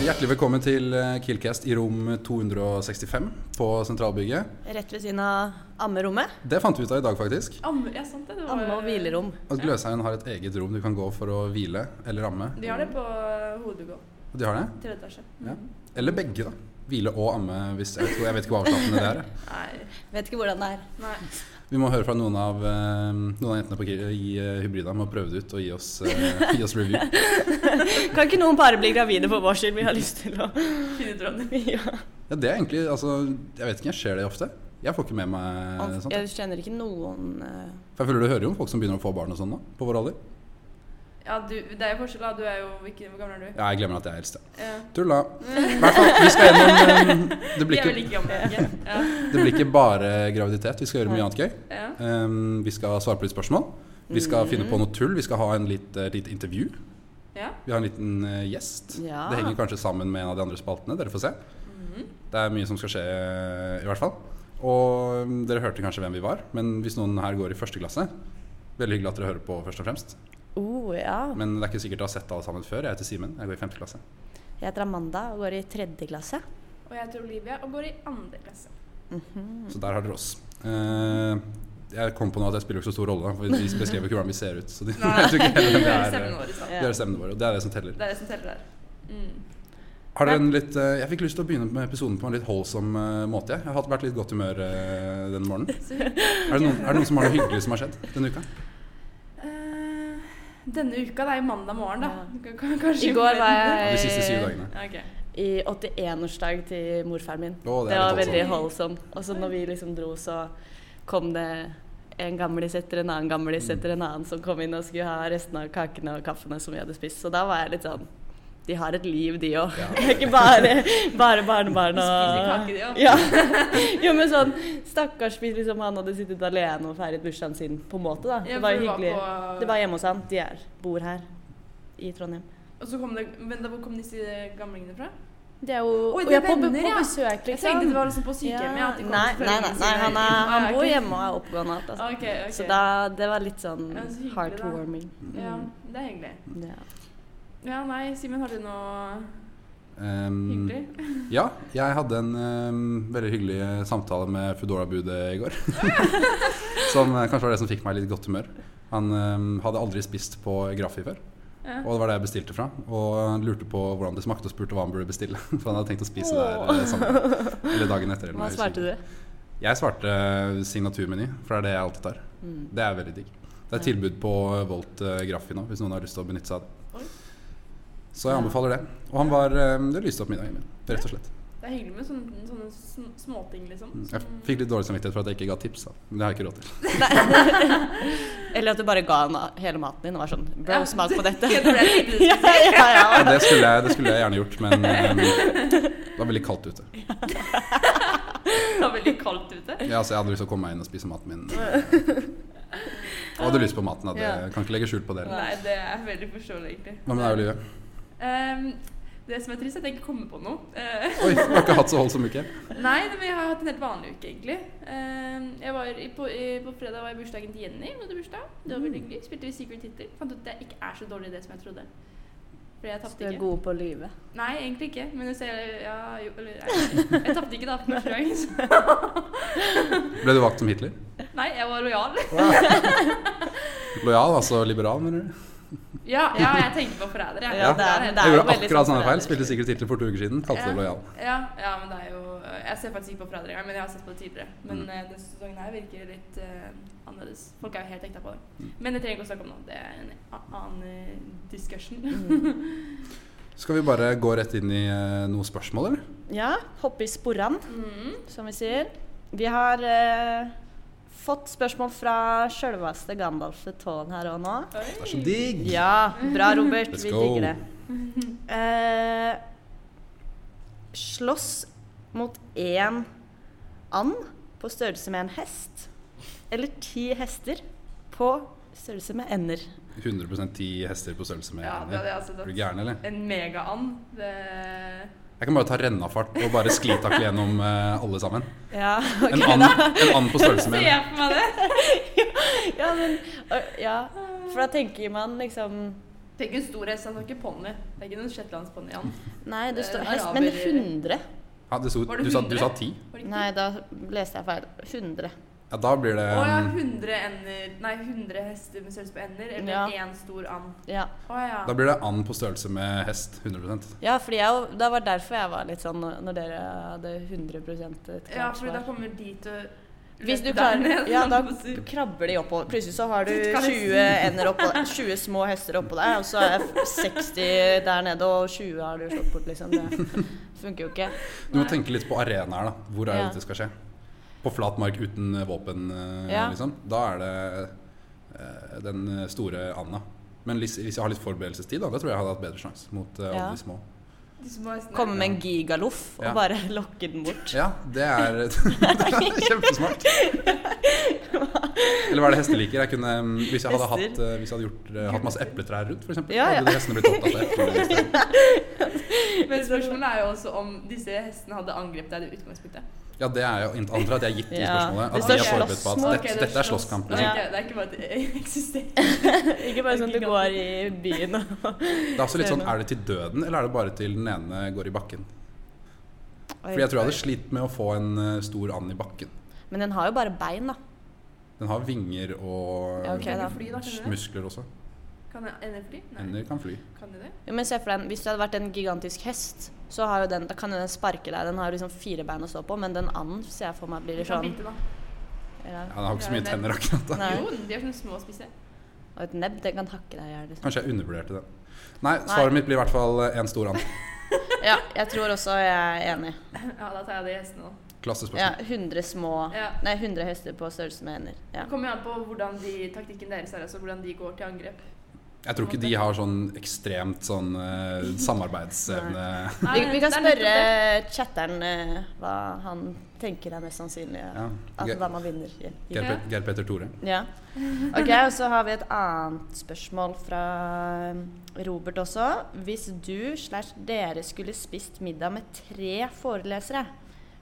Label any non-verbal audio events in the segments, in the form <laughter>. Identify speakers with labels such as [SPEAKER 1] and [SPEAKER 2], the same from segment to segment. [SPEAKER 1] Hjertelig velkommen til eh, Killcast i rom 265 på Sentralbygget.
[SPEAKER 2] Rett ved siden av ammerommet.
[SPEAKER 1] Det fant vi ut av i dag, faktisk.
[SPEAKER 3] Amme, ja, sant det. det var-
[SPEAKER 2] Amme- og hvilerom.
[SPEAKER 1] At Gløshaugen har et eget rom du kan gå for å hvile eller amme.
[SPEAKER 3] De har det på Hovedbygå.
[SPEAKER 1] De har det?
[SPEAKER 3] Tredje etasje.
[SPEAKER 1] Ja. Eller begge, da. Hvile og amme. Hvis jeg, tror, jeg vet ikke hvor avslappende det er. jeg.
[SPEAKER 3] Nei.
[SPEAKER 2] Vet ikke hvordan det er.
[SPEAKER 3] Nei.
[SPEAKER 1] Vi må høre fra noen av, eh, noen av jentene på, Kill- i eh, Hybrida med å prøve det ut og gi oss, eh, gi oss review.
[SPEAKER 2] Kan ikke noen bare bli gravide for vår skyld? Vi har lyst til å
[SPEAKER 3] Finne ut hvordan det
[SPEAKER 2] <laughs> ja.
[SPEAKER 1] Ja, det er egentlig, altså, Jeg vet ikke, jeg ser det ofte? Jeg får ikke med meg sånt. jeg.
[SPEAKER 2] Jeg kjenner ikke noen eh,
[SPEAKER 1] For jeg føler du hører jo om folk som begynner å få barn og sånn nå, på vår alder.
[SPEAKER 3] Ja, du, det er jo forskjell, da. Du er jo ikke, Hvor gammel er du?
[SPEAKER 1] Ja, jeg glemmer at jeg er eldst. jeg.
[SPEAKER 3] Ja.
[SPEAKER 1] Tulla. I hvert fall, vi skal gjennom eh, Det
[SPEAKER 3] De
[SPEAKER 1] blir
[SPEAKER 3] er vel
[SPEAKER 1] ikke
[SPEAKER 3] like gamle, ikke? Ja.
[SPEAKER 1] Det blir ikke bare graviditet. Vi skal gjøre mye annet gøy.
[SPEAKER 3] ja.
[SPEAKER 1] Ehm, vi skal svare på litt spørsmål. Vi skal
[SPEAKER 2] Mhm.
[SPEAKER 1] finne på noe tull. Vi skal ha en litt, eh, litt intervju.
[SPEAKER 3] ja.
[SPEAKER 1] Vi har en liten eh, gjest.
[SPEAKER 2] Ja.
[SPEAKER 1] Det henger kanskje sammen med en av de andre spaltene. Dere får se.
[SPEAKER 3] Mhm.
[SPEAKER 1] Det er mye som skal skje, eh, i hvert fall. Og mm, dere hørte kanskje hvem vi var, men hvis noen her går i første klasse Veldig hyggelig at dere hører på, først og fremst.
[SPEAKER 2] oh, ja.
[SPEAKER 1] Men det er ikke sikkert dere har sett alle sammen før. Jeg heter Simen. Jeg går i femte klasse.
[SPEAKER 2] Jeg heter Amanda og går i tredje klasse.
[SPEAKER 3] Og jeg heter Olivia og går i andre
[SPEAKER 1] <laughs>
[SPEAKER 3] klasse.
[SPEAKER 2] Mhm. Mm.
[SPEAKER 1] Så der har dere oss. Eh, jeg kom på nå at jeg spiller jo ikke så stor rolle, for vi beskrev jo ikke hvordan vi ser ut. Så de, <laughs> jeg tror ikke
[SPEAKER 3] Vi
[SPEAKER 1] heller det
[SPEAKER 3] hører
[SPEAKER 1] er,
[SPEAKER 3] stemmen vår i stad.
[SPEAKER 1] det er stemmene våre, og det er det som teller.
[SPEAKER 3] Det er det som teller der. Mm.
[SPEAKER 1] Har dere en litt, eh, jeg fikk lyst til å begynne med episoden på en litt holdsom eh, måte. Jeg Jeg har hatt- vært litt godt humør eh, den morgenen.
[SPEAKER 3] <laughs> Så,
[SPEAKER 1] Er det, noen, er det noen som har noe hyggelig som har skjedd denne uka?
[SPEAKER 3] eh, denne uka, det er jo mandag morgen, da.
[SPEAKER 2] Ja.
[SPEAKER 3] K- k- Kanskje
[SPEAKER 2] I går var jeg
[SPEAKER 1] De siste syv dagene.
[SPEAKER 3] Ja, ok.
[SPEAKER 2] i 81-årsdag til morfaren min.
[SPEAKER 1] Å, det
[SPEAKER 2] det
[SPEAKER 1] er
[SPEAKER 2] var
[SPEAKER 1] litt
[SPEAKER 2] veldig holdsom. Og så når vi liksom dro, så kom det en gamlis etter en annen gamlis
[SPEAKER 1] Mm.
[SPEAKER 2] etter en annen som kom inn og skulle ha restene av kakene og kaffene som vi hadde spist. Så da var jeg litt sånn De har et liv, de òg. Ikke bare, bare barnebarn og
[SPEAKER 3] spiser kake, de også.
[SPEAKER 2] Ja. Jo, men sånn Stakkars hvis liksom, han hadde sittet alene og feiret bursdagen sin, på en måte, da.
[SPEAKER 3] Ja,
[SPEAKER 2] det var
[SPEAKER 3] for
[SPEAKER 2] jo
[SPEAKER 3] vi var
[SPEAKER 2] hyggelig.
[SPEAKER 3] på-
[SPEAKER 2] Det var hjemme hos han. De er, bor her i Trondheim.
[SPEAKER 3] Og så kom det Men da, hvor kom disse gamlingene fra?
[SPEAKER 2] Det er jo
[SPEAKER 3] Oi,
[SPEAKER 2] og
[SPEAKER 3] det er
[SPEAKER 2] jeg er på,
[SPEAKER 3] venner,
[SPEAKER 2] på
[SPEAKER 3] ja.
[SPEAKER 2] besøk,
[SPEAKER 3] Jeg
[SPEAKER 2] liksom.
[SPEAKER 3] tenkte det var liksom på sykehjemmet.
[SPEAKER 2] Ja,
[SPEAKER 3] at de kom
[SPEAKER 2] nei,
[SPEAKER 3] til
[SPEAKER 2] nei, nei,
[SPEAKER 3] foreldrene
[SPEAKER 2] nei,
[SPEAKER 3] sine.
[SPEAKER 2] han, er, han
[SPEAKER 3] Ah,
[SPEAKER 2] bor
[SPEAKER 3] ok.
[SPEAKER 2] hjemme og er oppegående alt. Altså.
[SPEAKER 3] Ok, ok.
[SPEAKER 2] Så da, det var litt sånn
[SPEAKER 3] Ja, så hyggelig, da.
[SPEAKER 2] heartwarming. Mm,
[SPEAKER 3] Ja, det er hyggelig.
[SPEAKER 2] Ja.
[SPEAKER 3] Ja, nei, Simen, har du noe
[SPEAKER 1] Ehm,
[SPEAKER 3] hyggelig?
[SPEAKER 1] ja, jeg hadde en ehm, veldig hyggelig eh, samtale med Foodora-budet i går. <laughs> som eh, kanskje var det som fikk meg i litt godt humør. Han ehm, hadde aldri spist på Graffi før.
[SPEAKER 3] Ja.
[SPEAKER 1] Og det var det jeg bestilte fra. Og han lurte på hvordan det smakte, og spurte hva han burde bestille. <laughs> For han hadde tenkt å spise det her eh, sammen. Eller dagen etter.
[SPEAKER 2] Hva svarte du?
[SPEAKER 1] Jeg svarte eh, signaturmeny, for det er det jeg alltid tar.
[SPEAKER 2] Mm.
[SPEAKER 1] Det er veldig digg. Det er tilbud på Volt eh, Graffi nå, hvis noen har lyst til å benytte seg av
[SPEAKER 3] Oi.
[SPEAKER 1] det. Så jeg anbefaler det. Og han var eh, Det lyste opp middagen min, rett og slett.
[SPEAKER 3] Det er hyggelig med sånne, sånne sm- småting, liksom.
[SPEAKER 1] Mm. Jeg
[SPEAKER 3] Som- <laughs>
[SPEAKER 1] fikk litt dårlig samvittighet for at jeg ikke ga tips, da. Men det har jeg ikke råd til.
[SPEAKER 2] Eller at du bare ga han hele maten din og var sånn Bro,
[SPEAKER 3] Ja,
[SPEAKER 2] smak på dette.
[SPEAKER 3] det ble det hyggelig.
[SPEAKER 2] ja, ja,
[SPEAKER 1] Ja,
[SPEAKER 2] ja.
[SPEAKER 1] det, skulle jeg, det skulle jeg gjerne gjort, men eh, det var veldig kaldt ute.
[SPEAKER 3] Det var veldig kaldt ute.
[SPEAKER 1] Ja, altså, jeg hadde lyst til å komme meg inn og spise maten min. Jeg hadde lyst på maten. da. Det, kan ikke legge skjul på det.
[SPEAKER 3] Nei, det er veldig forståelig, egentlig.
[SPEAKER 1] Hva med deg, Olivia?
[SPEAKER 3] Ehm, det som er trist, er at jeg ikke kommer på noe. Eh,
[SPEAKER 1] Oi, du har ikke hatt så holdsom uke?
[SPEAKER 3] nei, men jeg har hatt en helt vanlig uke, egentlig. Ehm, jeg var i, på, i, på fredag var jeg i bursdagen til Jenny. Hun hadde bursdag. Det var
[SPEAKER 2] Mm.
[SPEAKER 3] veldig hyggelig. Spilte vi Secret Hitter. Fant ut at jeg ikke er så dårlig i det som jeg trodde. For jeg
[SPEAKER 2] Du
[SPEAKER 3] tapte
[SPEAKER 2] er
[SPEAKER 3] ikke.
[SPEAKER 2] god på å lyve.
[SPEAKER 3] Nei, egentlig ikke. Men jeg ser Ja, jo, eller nei. Jeg tapte ikke da på første gang.
[SPEAKER 2] <laughs>
[SPEAKER 3] så-
[SPEAKER 1] Ble du valgt som Hitler?
[SPEAKER 3] Nei, jeg var lojal.
[SPEAKER 1] Lojal, altså liberal, mener du?
[SPEAKER 3] Ja, ja jeg tenker på forræder. jeg.
[SPEAKER 2] Ja, det er-
[SPEAKER 3] helt-
[SPEAKER 2] det
[SPEAKER 1] Jeg
[SPEAKER 2] er jo
[SPEAKER 1] gjorde
[SPEAKER 2] veldig
[SPEAKER 1] akkurat
[SPEAKER 2] sånn
[SPEAKER 1] samme feil.
[SPEAKER 2] forræder.
[SPEAKER 1] Spilte sikkert Hitler for to uker siden. Kalte det
[SPEAKER 3] Ja.
[SPEAKER 1] lojal.
[SPEAKER 3] Ja, ja, men det er jo Jeg ser faktisk ikke på forræder engang, men jeg har sett på det tidligere. Men
[SPEAKER 1] Mm.
[SPEAKER 3] eh, denne sesongen her virker litt eh, annerledes. Folk er jo helt hekta på det.
[SPEAKER 1] Mm.
[SPEAKER 3] Men det trenger ikke å snakke om nå. Det er en a- annen eh, discussion.
[SPEAKER 1] Mm.
[SPEAKER 3] <laughs>
[SPEAKER 1] Skal vi bare gå rett inn i eh, noen spørsmål, eller?
[SPEAKER 2] Ja, hoppe i sporene,
[SPEAKER 3] Mm.
[SPEAKER 2] som vi sier. Vi har eh, fått spørsmål fra sjølveste Gandalf the Tårn her og nå.
[SPEAKER 3] Oi.
[SPEAKER 1] Det er så digg!
[SPEAKER 2] Ja, bra Robert.
[SPEAKER 1] Let's
[SPEAKER 2] Vi
[SPEAKER 1] go.
[SPEAKER 2] digger det. Eh, slåss mot én and på størrelse med en hest, eller ti hester på størrelse med ender.
[SPEAKER 1] 100 ti hester på størrelse med
[SPEAKER 3] Ja, det hadde
[SPEAKER 1] hender.
[SPEAKER 3] jeg altså
[SPEAKER 1] Er du
[SPEAKER 3] tatt.
[SPEAKER 1] gæren, eller?
[SPEAKER 3] En mega-and. Det
[SPEAKER 1] Jeg kan bare ta rennafart og bare sklitakle gjennom eh, alle sammen.
[SPEAKER 2] Ja, <laughs>
[SPEAKER 1] En and, en and på størrelse
[SPEAKER 3] <laughs> Se
[SPEAKER 1] med en
[SPEAKER 3] for meg det!
[SPEAKER 2] ja, men, ø, ja, for da tenker man liksom
[SPEAKER 3] Det er ikke en stor hest, han har ikke ponni. Det er ikke noen shetlandsponni. han.
[SPEAKER 2] Nei, det står
[SPEAKER 3] Eh,
[SPEAKER 2] hest, men
[SPEAKER 3] araber-
[SPEAKER 2] 100.
[SPEAKER 1] Ja, det sto,
[SPEAKER 3] Var det
[SPEAKER 1] du, sa, du
[SPEAKER 3] 100?
[SPEAKER 1] sa 10?
[SPEAKER 3] Var det ikke
[SPEAKER 2] Nei, da leste jeg feil. 100.
[SPEAKER 1] Ja, da blir det
[SPEAKER 3] Å ja,
[SPEAKER 1] um,
[SPEAKER 3] 100 ender Nei, 100 hester med størrelse på ender, eller
[SPEAKER 2] Ja.
[SPEAKER 3] én stor and.
[SPEAKER 2] Ja.
[SPEAKER 3] Å ja.
[SPEAKER 1] Da blir det and på størrelse med hest. 100
[SPEAKER 2] Ja, fordi jeg, det var derfor jeg var litt sånn når når dere hadde 100 et
[SPEAKER 3] ja,
[SPEAKER 2] klart
[SPEAKER 3] for da
[SPEAKER 2] svar.
[SPEAKER 3] kommer de til å
[SPEAKER 2] Hvis du
[SPEAKER 3] Der
[SPEAKER 2] klarer
[SPEAKER 3] ned,
[SPEAKER 2] Ja, da
[SPEAKER 3] sånn på sur-
[SPEAKER 2] krabber de oppover. Plutselig så har du
[SPEAKER 3] Kan jeg si?
[SPEAKER 2] 20 ender oppå 20 små hester oppå deg, og så er f- 60 der nede, og 20 har du slått bort, liksom. Det funker jo ikke.
[SPEAKER 1] Du må tenke litt på arenaer, da. Hvor er det
[SPEAKER 2] Ja.
[SPEAKER 1] dette skal skje? På flat mark uten eh, våpen, eh,
[SPEAKER 2] Ja.
[SPEAKER 1] liksom. Da er det eh, den store anda. Men hvis, hvis jeg har litt forberedelsestid, da, da tror jeg jeg hadde hatt bedre sjanse mot eh, alle
[SPEAKER 2] Ja.
[SPEAKER 1] de små.
[SPEAKER 3] de små hestene.
[SPEAKER 2] Komme med en gigaloff og
[SPEAKER 1] Ja.
[SPEAKER 2] bare lokke den bort.
[SPEAKER 1] Ja, det er, <laughs> det er kjempesmart. Eller hva er det hester liker? Jeg kunne, um, hvis, jeg hadde hatt,
[SPEAKER 2] Hester?
[SPEAKER 1] eh, hvis jeg hadde gjort, eh, hatt masse epletrær rundt, f.eks.,
[SPEAKER 2] Ja, ja.
[SPEAKER 1] hadde de hestene blitt opptatt av
[SPEAKER 2] <laughs>
[SPEAKER 1] epler.
[SPEAKER 3] Men spørsmålet er jo også om disse hestene hadde angrepet deg i utgangspunktet.
[SPEAKER 1] Ja, det er jo int- antar at jeg har gitt i
[SPEAKER 2] Ja.
[SPEAKER 1] spørsmålet.
[SPEAKER 2] Hvis
[SPEAKER 1] At
[SPEAKER 2] det
[SPEAKER 1] de
[SPEAKER 2] er
[SPEAKER 1] er forberedt på at
[SPEAKER 2] slåssmål,
[SPEAKER 1] dette, dette er slåsskamp. Liksom.
[SPEAKER 2] Ja.
[SPEAKER 3] Ok, det <laughs> er ikke bare et eksisterende
[SPEAKER 2] <laughs> Ikke bare sånn at du går i byen og
[SPEAKER 1] Det er også litt sånn, Er det til døden, eller er det bare til den ene går i bakken?
[SPEAKER 2] Oi.
[SPEAKER 1] Fordi jeg tror jeg hadde slitt med å få en eh, stor and i bakken.
[SPEAKER 2] Men den har jo bare bein, da.
[SPEAKER 1] Den har vinger og
[SPEAKER 2] Ja, ok, da.
[SPEAKER 3] Fly, da, skjønner du?
[SPEAKER 1] muskler også.
[SPEAKER 3] Kan jeg ender fly? Nei.
[SPEAKER 1] Ender kan fly.
[SPEAKER 3] Kan de det?
[SPEAKER 2] Jo, men se for deg, en- Hvis du hadde vært en gigantisk hest, så har jo den, da kan jo den sparke deg. Den har jo liksom fire bein å stå på, men den anden ser jeg for meg blir
[SPEAKER 3] De
[SPEAKER 2] litt
[SPEAKER 3] kan
[SPEAKER 2] sånn
[SPEAKER 3] bite, da.
[SPEAKER 2] ja.
[SPEAKER 1] Ja, Den har ikke så
[SPEAKER 3] Ja,
[SPEAKER 1] mye
[SPEAKER 3] den-
[SPEAKER 1] tenner akkurat. da
[SPEAKER 2] Nei.
[SPEAKER 3] Jo, de er sånne små og spisse.
[SPEAKER 2] Og et nebb, den kan hakke deg i hjel. Liksom.
[SPEAKER 1] Kanskje jeg undervurderte den. Nei, svaret mitt blir i hvert fall eh, en stor and.
[SPEAKER 2] Ja, jeg tror også jeg er enig.
[SPEAKER 3] <clears throat> Ja, da tar jeg de hestene nå.
[SPEAKER 1] Klassespørsmål.
[SPEAKER 2] Ja, 100 små
[SPEAKER 3] Ja.
[SPEAKER 2] Nei, 100 hester på størrelse med hender. Ah. Ja.
[SPEAKER 3] Det kommer jo an på hvordan de, taktikken deres er, altså hvordan de går til angrep.
[SPEAKER 1] Jeg tror ikke de har sånn ekstremt sånn eh, samarbeidsevne
[SPEAKER 2] Vi, vi kan
[SPEAKER 3] det er nettopp
[SPEAKER 2] spørre
[SPEAKER 3] det.
[SPEAKER 2] chatteren eh, hva han tenker er mest sannsynlig
[SPEAKER 1] ja.
[SPEAKER 2] at, hva
[SPEAKER 1] Geir,
[SPEAKER 2] man vinner. i- i-
[SPEAKER 1] Geir, Pet- Geir Petter Tore.
[SPEAKER 2] Ja. Ok, og så har vi et annet spørsmål fra eh, Robert også. Hvis du slash dere skulle spist middag med tre forelesere,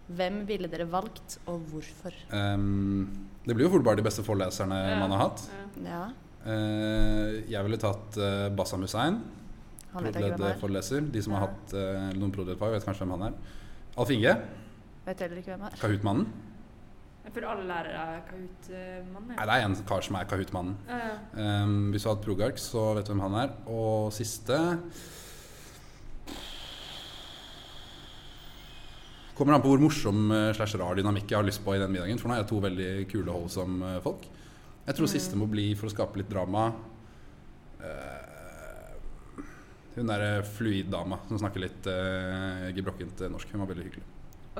[SPEAKER 2] hvem ville dere valgt, og hvorfor?
[SPEAKER 1] Ehm, det blir jo fort bare de beste foreleserne
[SPEAKER 3] Ja.
[SPEAKER 1] man har hatt.
[SPEAKER 3] Ja.
[SPEAKER 2] Ja,
[SPEAKER 1] Eh, jeg ville tatt uh, Bassam Hussein,
[SPEAKER 2] han vet jeg ikke
[SPEAKER 1] eh,
[SPEAKER 2] hvem er.
[SPEAKER 1] prod.led-foreleser. De som har
[SPEAKER 2] Ja.
[SPEAKER 1] hatt eh, noen prod.led-fag, vet kanskje hvem han er. Alf Inge,
[SPEAKER 2] Vet heller ikke hvem er.
[SPEAKER 1] Kahoot-mannen.
[SPEAKER 3] Jeg føler alle lærere er Kahoot-mann.
[SPEAKER 1] Nei, det er en kar som er Kahoot-mannen. Ehm, hvis du har hatt Progark, så vet du hvem han er. Og siste Kommer an på hvor morsom eh, slash rar dynamikk jeg har lyst på i den middagen. For nå er jeg to veldig kule og holdsomme eh, folk. Jeg tror siste må bli, for å skape litt drama eh, Hun derre fluid-dama som snakker litt uh, gebrokkent eh, norsk. Hun var veldig hyggelig.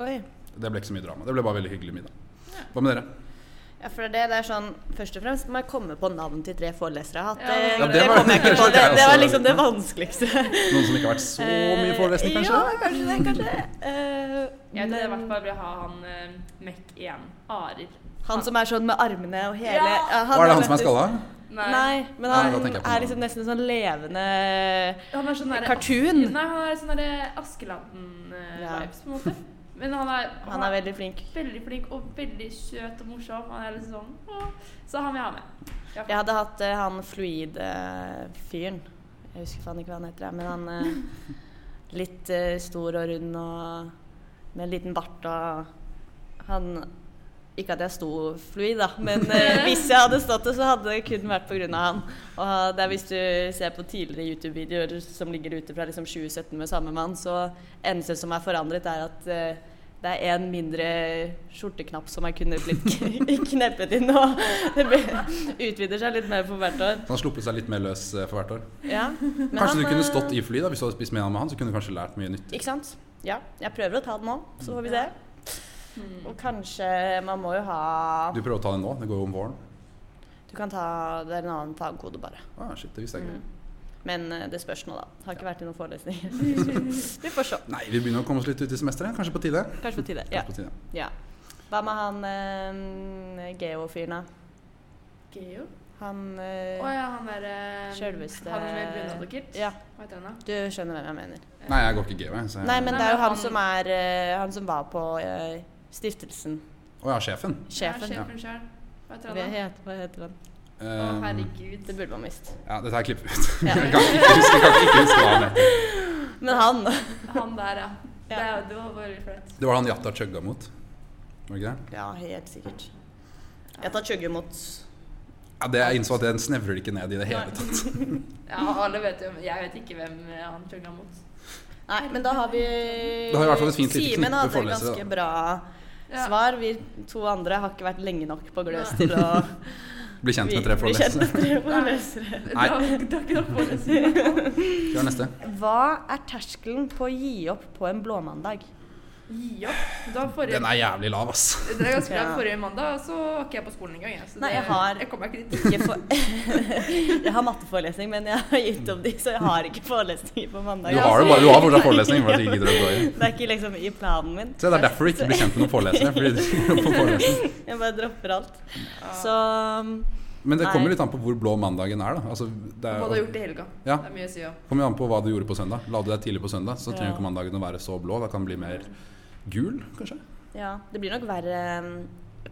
[SPEAKER 2] Oi.
[SPEAKER 1] Det ble ikke så mye drama. Det ble bare veldig hyggelig middag. Hva med dere?
[SPEAKER 2] Ja, for det, det er sånn, Først og fremst må jeg komme på navn til tre forelesere jeg har hatt.
[SPEAKER 3] Ja, det
[SPEAKER 2] Det, det
[SPEAKER 3] var-
[SPEAKER 2] kom jeg ikke
[SPEAKER 1] <laughs>
[SPEAKER 2] på. Det, det var liksom det vanskeligste.
[SPEAKER 1] Noen som ikke har vært så mye forelesning, kanskje?
[SPEAKER 2] Eh, Ja, kanskje det. kanskje det. Eh,
[SPEAKER 3] Jeg tror jeg i
[SPEAKER 2] men
[SPEAKER 3] hvert fall vil ha han uh, Mek igjen. Arild.
[SPEAKER 2] han som er sånn med armene og hele
[SPEAKER 3] Ja!
[SPEAKER 2] ja,
[SPEAKER 1] Hva er det han som er
[SPEAKER 2] faktisk-
[SPEAKER 1] skalla?
[SPEAKER 2] Nei, men
[SPEAKER 1] Nei, da
[SPEAKER 2] han
[SPEAKER 1] tenker jeg på
[SPEAKER 2] er
[SPEAKER 1] noe
[SPEAKER 2] liksom nesten en sånn levende
[SPEAKER 3] Han er sånn derre
[SPEAKER 2] Cartoon.
[SPEAKER 3] Nei, han er sånn derre Askeladden-vibes, på
[SPEAKER 2] <laughs>
[SPEAKER 3] en måte. Men han er,
[SPEAKER 2] Han er veldig flink.
[SPEAKER 3] veldig flink og veldig søt og morsom. Han er liksom sånn «Åh». Så han vil jeg ha med. Ja.
[SPEAKER 2] Jeg hadde hatt eh, han eh, fluid-fyren. jeg husker faen ikke hva han heter, jeg, men han eh, litt eh, stor og rund og med en liten bart og Han Ikke at jeg sto fluid, da, men eh, hvis jeg hadde stått det, så hadde det kun vært pga. han. Og det er hvis du ser på tidligere YouTube-videoer som ligger ute fra liksom 2017 med samme mann, så eneste som er forandret, er at eh, det er en mindre skjorteknapp som er kunne blitt <laughs> k- kneppet inn. Og <laughs> det blir- utvider seg litt mer for hvert år.
[SPEAKER 1] Så han har sluppet seg litt mer løs eh, for hvert år.
[SPEAKER 2] Ja. men
[SPEAKER 1] kanskje
[SPEAKER 2] han,
[SPEAKER 1] du kunne
[SPEAKER 2] eh,
[SPEAKER 1] stått i fly da, hvis du hadde spist middag med han, så kunne du kanskje lært mye nytt.
[SPEAKER 2] Ikke sant? Ja. Jeg prøver å ta den nå, så får vi se. Og kanskje Man må jo ha
[SPEAKER 1] Du prøver å ta det nå, det går jo om våren.
[SPEAKER 2] Du kan ta Det er en annen fagkode, bare.
[SPEAKER 1] Ah, shit, det visste jeg
[SPEAKER 2] Mm.
[SPEAKER 1] ikke.
[SPEAKER 2] Men eh, det spørs nå, da. Har ikke vært i noen
[SPEAKER 3] <laughs>
[SPEAKER 2] forelesninger. vi får se.
[SPEAKER 1] Nei, vi begynner å komme oss litt ut i semesteret. Kanskje på tide?
[SPEAKER 2] Kanskje på tide.
[SPEAKER 1] Kanskje
[SPEAKER 2] Ja.
[SPEAKER 1] på tide.
[SPEAKER 2] ja. Hva med han eh, geo-fyren, da?
[SPEAKER 3] Geo.
[SPEAKER 2] Han eh,
[SPEAKER 3] Å ja, han derre
[SPEAKER 2] Selveste-
[SPEAKER 3] Han med brunadokkert.
[SPEAKER 2] Ja.
[SPEAKER 3] Hva heter han, da?
[SPEAKER 2] Du skjønner hvem jeg mener.
[SPEAKER 1] Nei, jeg går ikke GV. Så
[SPEAKER 2] Nei, men det er jo
[SPEAKER 3] men
[SPEAKER 2] han
[SPEAKER 3] han-
[SPEAKER 2] som er eh, Han som var på eh, stiftelsen.
[SPEAKER 1] Å ja, sjefen.
[SPEAKER 2] Sjefen.
[SPEAKER 3] Ja, sjefen sjøl. Hva heter
[SPEAKER 2] Hva
[SPEAKER 3] han, da?
[SPEAKER 2] heter, hva heter han?
[SPEAKER 3] Å,
[SPEAKER 1] Um,
[SPEAKER 3] herregud.
[SPEAKER 2] Det burde man visst.
[SPEAKER 1] Ja, dette her klipper vi ut.
[SPEAKER 2] Ja.
[SPEAKER 1] <laughs> jeg kan ikke huske, jeg kan ikke huske hva han heter.
[SPEAKER 2] Men han
[SPEAKER 3] Han der, ja.
[SPEAKER 2] <laughs> Ja.
[SPEAKER 3] Det, er jo- det var veldig flaut.
[SPEAKER 1] Det var han Jatta chugga mot. Var det ikke det?
[SPEAKER 2] Ja, helt sikkert. Jeg tar chugge mot
[SPEAKER 1] Ja, det jeg innså at den snevrer det ikke ned i det hele
[SPEAKER 3] Nei.
[SPEAKER 1] tatt.
[SPEAKER 3] Ja, alle vet jo Jeg vet ikke hvem eh, han chugga mot.
[SPEAKER 2] Nei, men da har vi
[SPEAKER 1] Da har vi i hvert fall et fint lite
[SPEAKER 2] Simen
[SPEAKER 1] knippe
[SPEAKER 2] hadde
[SPEAKER 1] forelesere,
[SPEAKER 2] ganske
[SPEAKER 1] da.
[SPEAKER 2] bra
[SPEAKER 3] Ja.
[SPEAKER 2] svar. Vi to andre har ikke vært lenge nok på gløs til å
[SPEAKER 1] <laughs> Bli kjent
[SPEAKER 2] vi-
[SPEAKER 1] med tre
[SPEAKER 2] bli kjent med
[SPEAKER 1] forelesere.
[SPEAKER 2] tre <laughs> forelesere.
[SPEAKER 3] Det
[SPEAKER 1] Nei.
[SPEAKER 3] var det var ikke nok for å si det.
[SPEAKER 1] Gjør neste.
[SPEAKER 2] Hva er terskelen på å gi opp på en blåmandag?
[SPEAKER 3] Gi opp. Da forrige,
[SPEAKER 1] Den er jævlig lav, ass.
[SPEAKER 3] det er ganske bra.
[SPEAKER 2] Ja.
[SPEAKER 3] Forrige mandag så var ikke jeg på skolen engang. jeg, Så
[SPEAKER 2] Nei,
[SPEAKER 3] det-
[SPEAKER 2] jeg har-
[SPEAKER 3] jeg kom meg ikke dit.
[SPEAKER 2] Ikke for... <laughs> jeg har matteforelesning, men jeg har gitt opp de, så jeg har ikke forelesninger på mandag.
[SPEAKER 1] Du har jo bare, du har fortsatt forelesning.
[SPEAKER 2] <laughs>
[SPEAKER 1] Bare ikke gidder å gå i.
[SPEAKER 2] Det er ikke liksom i planen min.
[SPEAKER 1] Se, det er derfor du ikke blir kjent med noen forelesere. Fordi du <laughs> ikke går på forelesning.
[SPEAKER 2] Jeg bare dropper alt.
[SPEAKER 3] Ja.
[SPEAKER 2] Så mm,
[SPEAKER 1] Men det kommer
[SPEAKER 2] Nei.
[SPEAKER 1] litt an på hvor blå mandagen er, da. Altså, det
[SPEAKER 3] Hva du har
[SPEAKER 1] er,
[SPEAKER 3] gjort i helga.
[SPEAKER 1] Ja.
[SPEAKER 3] Det er mye å si om.
[SPEAKER 1] kommer jo an på hva du gjorde på søndag. La du deg tidlig på søndag, så trenger
[SPEAKER 2] Ja.
[SPEAKER 1] ikke mandagen å være så blå. Da kan den bli mer gul, kanskje.
[SPEAKER 2] ja, det blir nok verre um,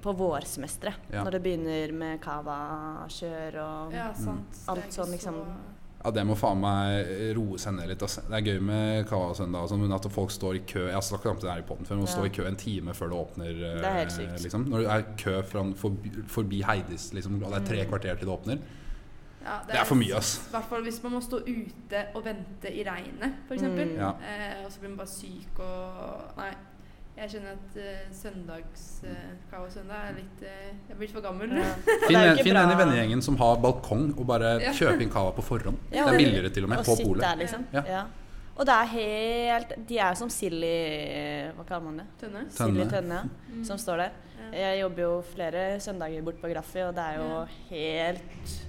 [SPEAKER 2] på vårsemesteret.
[SPEAKER 1] Ja.
[SPEAKER 2] Når det begynner med cava-kjør og
[SPEAKER 3] Ja, sant. Det er
[SPEAKER 2] Alt
[SPEAKER 3] ikke
[SPEAKER 2] sånn, liksom.
[SPEAKER 1] Ja, det må faen meg roe seg ned litt. Ass. Det er gøy med Kava søndag, og sånn, men at folk står i kø Jeg har snakket om det her i podden før, men å stå
[SPEAKER 2] Ja.
[SPEAKER 1] i kø en time før det åpner eh,
[SPEAKER 2] Det er helt sykt.
[SPEAKER 1] Liksom. Når det er kø fra, forbi, forbi Heidis, liksom, og det er tre
[SPEAKER 2] Mm.
[SPEAKER 1] kvarter til det åpner.
[SPEAKER 3] Ja,
[SPEAKER 1] Det er for mye, ass.
[SPEAKER 3] I hvert fall hvis man må stå ute og vente i regnet, f.eks. eksempel
[SPEAKER 2] Mm,
[SPEAKER 1] Ja.
[SPEAKER 3] Eh, og så blir man bare syk og Nei. Jeg kjenner at eh, søndags eh, kava-søndag er litt eh, Jeg er blitt for gammel.
[SPEAKER 2] Ja. Og <laughs> det
[SPEAKER 1] Finn,
[SPEAKER 2] er jo
[SPEAKER 1] en-
[SPEAKER 2] ikke
[SPEAKER 1] finn
[SPEAKER 2] bra
[SPEAKER 1] en i vennegjengen som har balkong, og bare
[SPEAKER 3] Ja.
[SPEAKER 1] kjøp inn Kava på forhånd. det
[SPEAKER 2] Ja, og-
[SPEAKER 1] er billigere til og med,
[SPEAKER 2] å
[SPEAKER 1] på
[SPEAKER 2] sitte
[SPEAKER 1] polet.
[SPEAKER 2] der, liksom.
[SPEAKER 1] Ja.
[SPEAKER 2] Ja. Og det er helt De er jo som sild i Hva kaller man det?
[SPEAKER 3] <laughs> Tønne. Mm.
[SPEAKER 1] Tønne. Mm.
[SPEAKER 2] Sild i tønne, ja. Som står der.
[SPEAKER 3] Ja.
[SPEAKER 2] Jeg jobber jo flere søndager bort på Graffi, og det er jo
[SPEAKER 3] Ja.
[SPEAKER 2] helt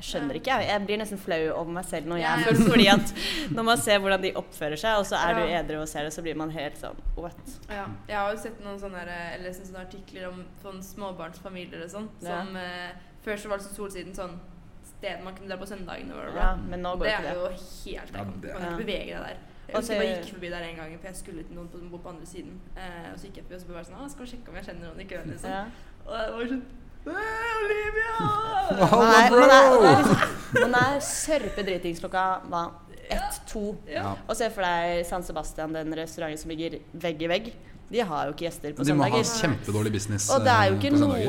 [SPEAKER 2] Jeg skjønner
[SPEAKER 3] Ja.
[SPEAKER 2] ikke, jeg. Jeg blir nesten flau over meg selv når jeg
[SPEAKER 3] Ja,
[SPEAKER 2] er
[SPEAKER 3] ja.
[SPEAKER 2] full. Fordi at når man ser hvordan de oppfører seg, og så er du
[SPEAKER 3] Ja.
[SPEAKER 2] edru og ser det, så blir man helt sånn What?
[SPEAKER 3] Ja, jeg har jo sett noen sånne, her, eller lest noen sånne artikler om sånn småbarnsfamilier og sånn.
[SPEAKER 2] Ja.
[SPEAKER 3] Som eh, Før så var det sånn Solsiden sånn sted man kunne dra på søndagene. bla, bla, bla.
[SPEAKER 2] Ja, men nå går
[SPEAKER 3] det
[SPEAKER 2] ikke
[SPEAKER 3] er
[SPEAKER 2] det.
[SPEAKER 3] jo helt
[SPEAKER 1] Ja,
[SPEAKER 3] Jeg kan
[SPEAKER 1] det-
[SPEAKER 3] kan ikke
[SPEAKER 2] Ja.
[SPEAKER 3] bevege deg der. Jeg
[SPEAKER 2] Og
[SPEAKER 3] husker
[SPEAKER 2] så-
[SPEAKER 3] jeg bare gikk forbi der en gang, for jeg skulle til noen på- som bor på andre siden. Eh, og så gikk jeg forbi og så bare sånn «Ah, Skal vi sjekke om jeg kjenner noen i køen? Liksom.
[SPEAKER 2] Ja.
[SPEAKER 3] Og det var sånn «Hey, Olivia!
[SPEAKER 1] <laughs> Hallo,
[SPEAKER 2] Man er,
[SPEAKER 1] bro!
[SPEAKER 2] man er, man er, liksom- man er sørpedritings klokka hva? ett-to.
[SPEAKER 1] Ja.
[SPEAKER 2] Og se for deg San Sebastian, den restauranten som ligger vegg i vegg. De har jo ikke gjester på
[SPEAKER 1] De må ha
[SPEAKER 2] søndager.
[SPEAKER 1] kjempedårlig business
[SPEAKER 2] Og det er jo
[SPEAKER 1] eh,
[SPEAKER 2] ikke
[SPEAKER 1] på søndager.